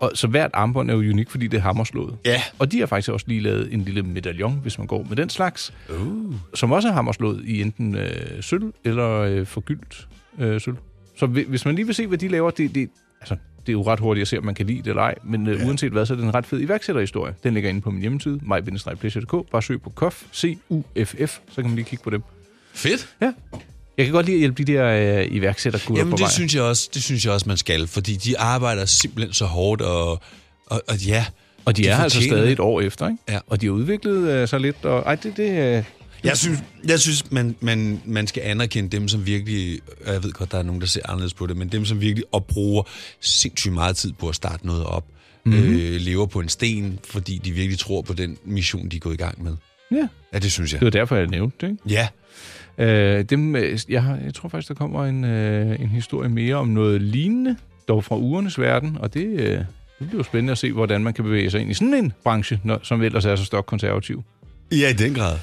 Og, så hvert armbånd er jo unik, fordi det er hammerslået.
Ja.
Og de har faktisk også lige lavet en lille medaljon, hvis man går med den slags,
uh.
som også er hammerslået i enten øh, sølv eller øh, forgyldt øh, sølv. Så hvi- hvis man lige vil se, hvad de laver, det, det, altså, det er jo ret hurtigt at se, om man kan lide det eller ej. Men øh, ja. uanset hvad, så er det en ret fed iværksætterhistorie. Den ligger inde på min hjemmeside, mig-pleasure.dk. Bare søg på KOF, C-U-F-F, så kan man lige kigge på dem.
Fedt.
Ja. Jeg kan godt lide at hjælpe de der øh, iværksættergutter
Jamen,
på
det
vej.
synes, jeg også, det synes jeg også, man skal, fordi de arbejder simpelthen så hårdt, og, og, og ja...
Og de, de er altså
fortjener
stadig
det.
et år efter, ikke?
Ja.
Og de har udviklet øh, sig lidt, og ej, det, det, øh,
Jeg synes, jeg synes man, man, man skal anerkende dem, som virkelig... og Jeg ved godt, der er nogen, der ser anderledes på det, men dem, som virkelig opbruger sindssygt meget tid på at starte noget op,
Mhm.
mm-hmm. øh, lever på en sten, fordi de virkelig tror på den mission, de er gået i gang med.
Ja.
Ja, det synes jeg.
det var derfor, jeg nævnte det, ikke?
Ja.
Øh, dem, øh, jeg, har, jeg tror faktisk, der kommer en, øh, en historie mere om noget lignende, dog fra ugernes verden, og det, øh, det bliver jo spændende at se, hvordan man kan bevæge sig ind i sådan en branche, når, som ellers er så stokkonservativ.
Ja, i den grad.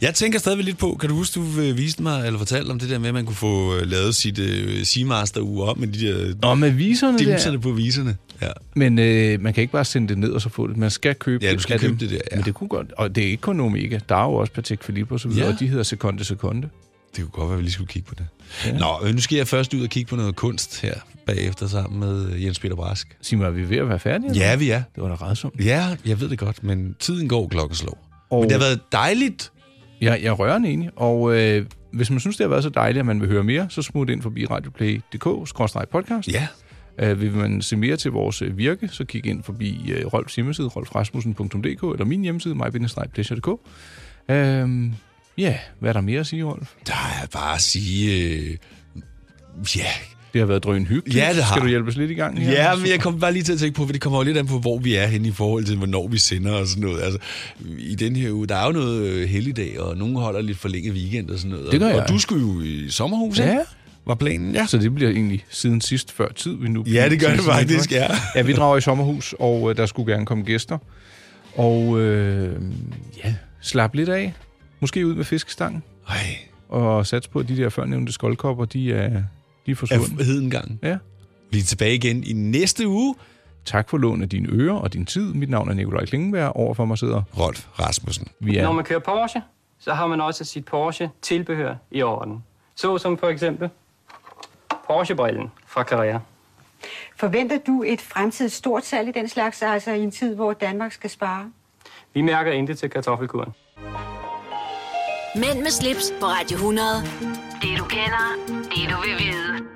Jeg tænker stadigvæk lidt på, kan du huske, du øh, viste mig, eller fortalte om det der med, at man kunne få øh, lavet sit øh, Seamaster-uge op med de der
Nå, med viserne
dimserne
der.
på viserne? Ja.
Men øh, man kan ikke bare sende det ned og så få det. Man skal købe
Ja,
det.
du skal
af
købe
dem.
det der, ja.
Men det kunne godt. Og det er ikke kun Omega. Der er jo også Patek Philippe og så videre,
Ja.
og de hedder Sekunde Sekunde.
Det kunne godt være, at vi lige skulle kigge på det.
Ja.
Ja. Nå, øh, nu skal jeg først ud og kigge på noget kunst her bagefter sammen med øh, Jens Peter Brask.
Sig mig, er vi ved at være færdige? eller?
Ja, vi er.
Det var da redsomt.
Ja, jeg ved det godt, men tiden går klokken slår.
Og-
Og... Men det har været dejligt.
Jeg, jeg er rørende enig, og øh, hvis man synes, det har været så dejligt, at man vil høre mere, så smut ind forbi radioplay.dk-podcast.
Ja.
Øh, vil man se mere til vores øh, virke, så kig ind forbi øh, Rolfs hjemmeside, rolfrasmussen.dk, eller min hjemmeside, mybindestrejpleasure.dk. Øh, ja, hvad er der mere at sige, Rolf?
Der er bare at sige... Øh, ja,
Det har været drøn hyggeligt.
Ja, det har.
Skal du hjælpe os lidt i gang? her?
Ja, men jeg kom bare lige til at tænke på, for det kommer jo lidt an på, hvor vi er henne i forhold til, hvornår vi sender og sådan noget. Altså, i den her uge, der er jo noget øh, helligdag, og nogen holder lidt forlænget weekend og sådan noget.
Det gør
og,
jeg.
Og du skulle jo i sommerhus,
Ja.
ikke? Var planen, ja.
Så det bliver egentlig siden sidst før tid, vi nu...
Ja, det gør det faktisk, ja.
Ja, vi drager i sommerhus, og øh, der skulle gerne komme gæster. Og øh, ja, slap lidt af. Måske ud med fiskestangen.
Ej,
Og sats på, at de der førnævnte skoldkopper, de er, de er forsvundet.
af hedengang.
Ja.
Vi er tilbage igen i næste uge.
Tak for lånet af dine ører og din tid. Mit navn er Nikolaj Klingenberg. Overfor mig sidder
Rolf Rasmussen.
vi
Når
er...
man kører Porsche, så har man også sit Porsche-tilbehør i orden. Så som for eksempel Porsche-brillen fra Carrera.
Forventer du et fremtidigt stort salg i den slags, altså i en tid, hvor Danmark skal spare?
Vi mærker intet til kartoffelkuren.
Mænd med slips på Radio 100. Det du kender, det du vil vide.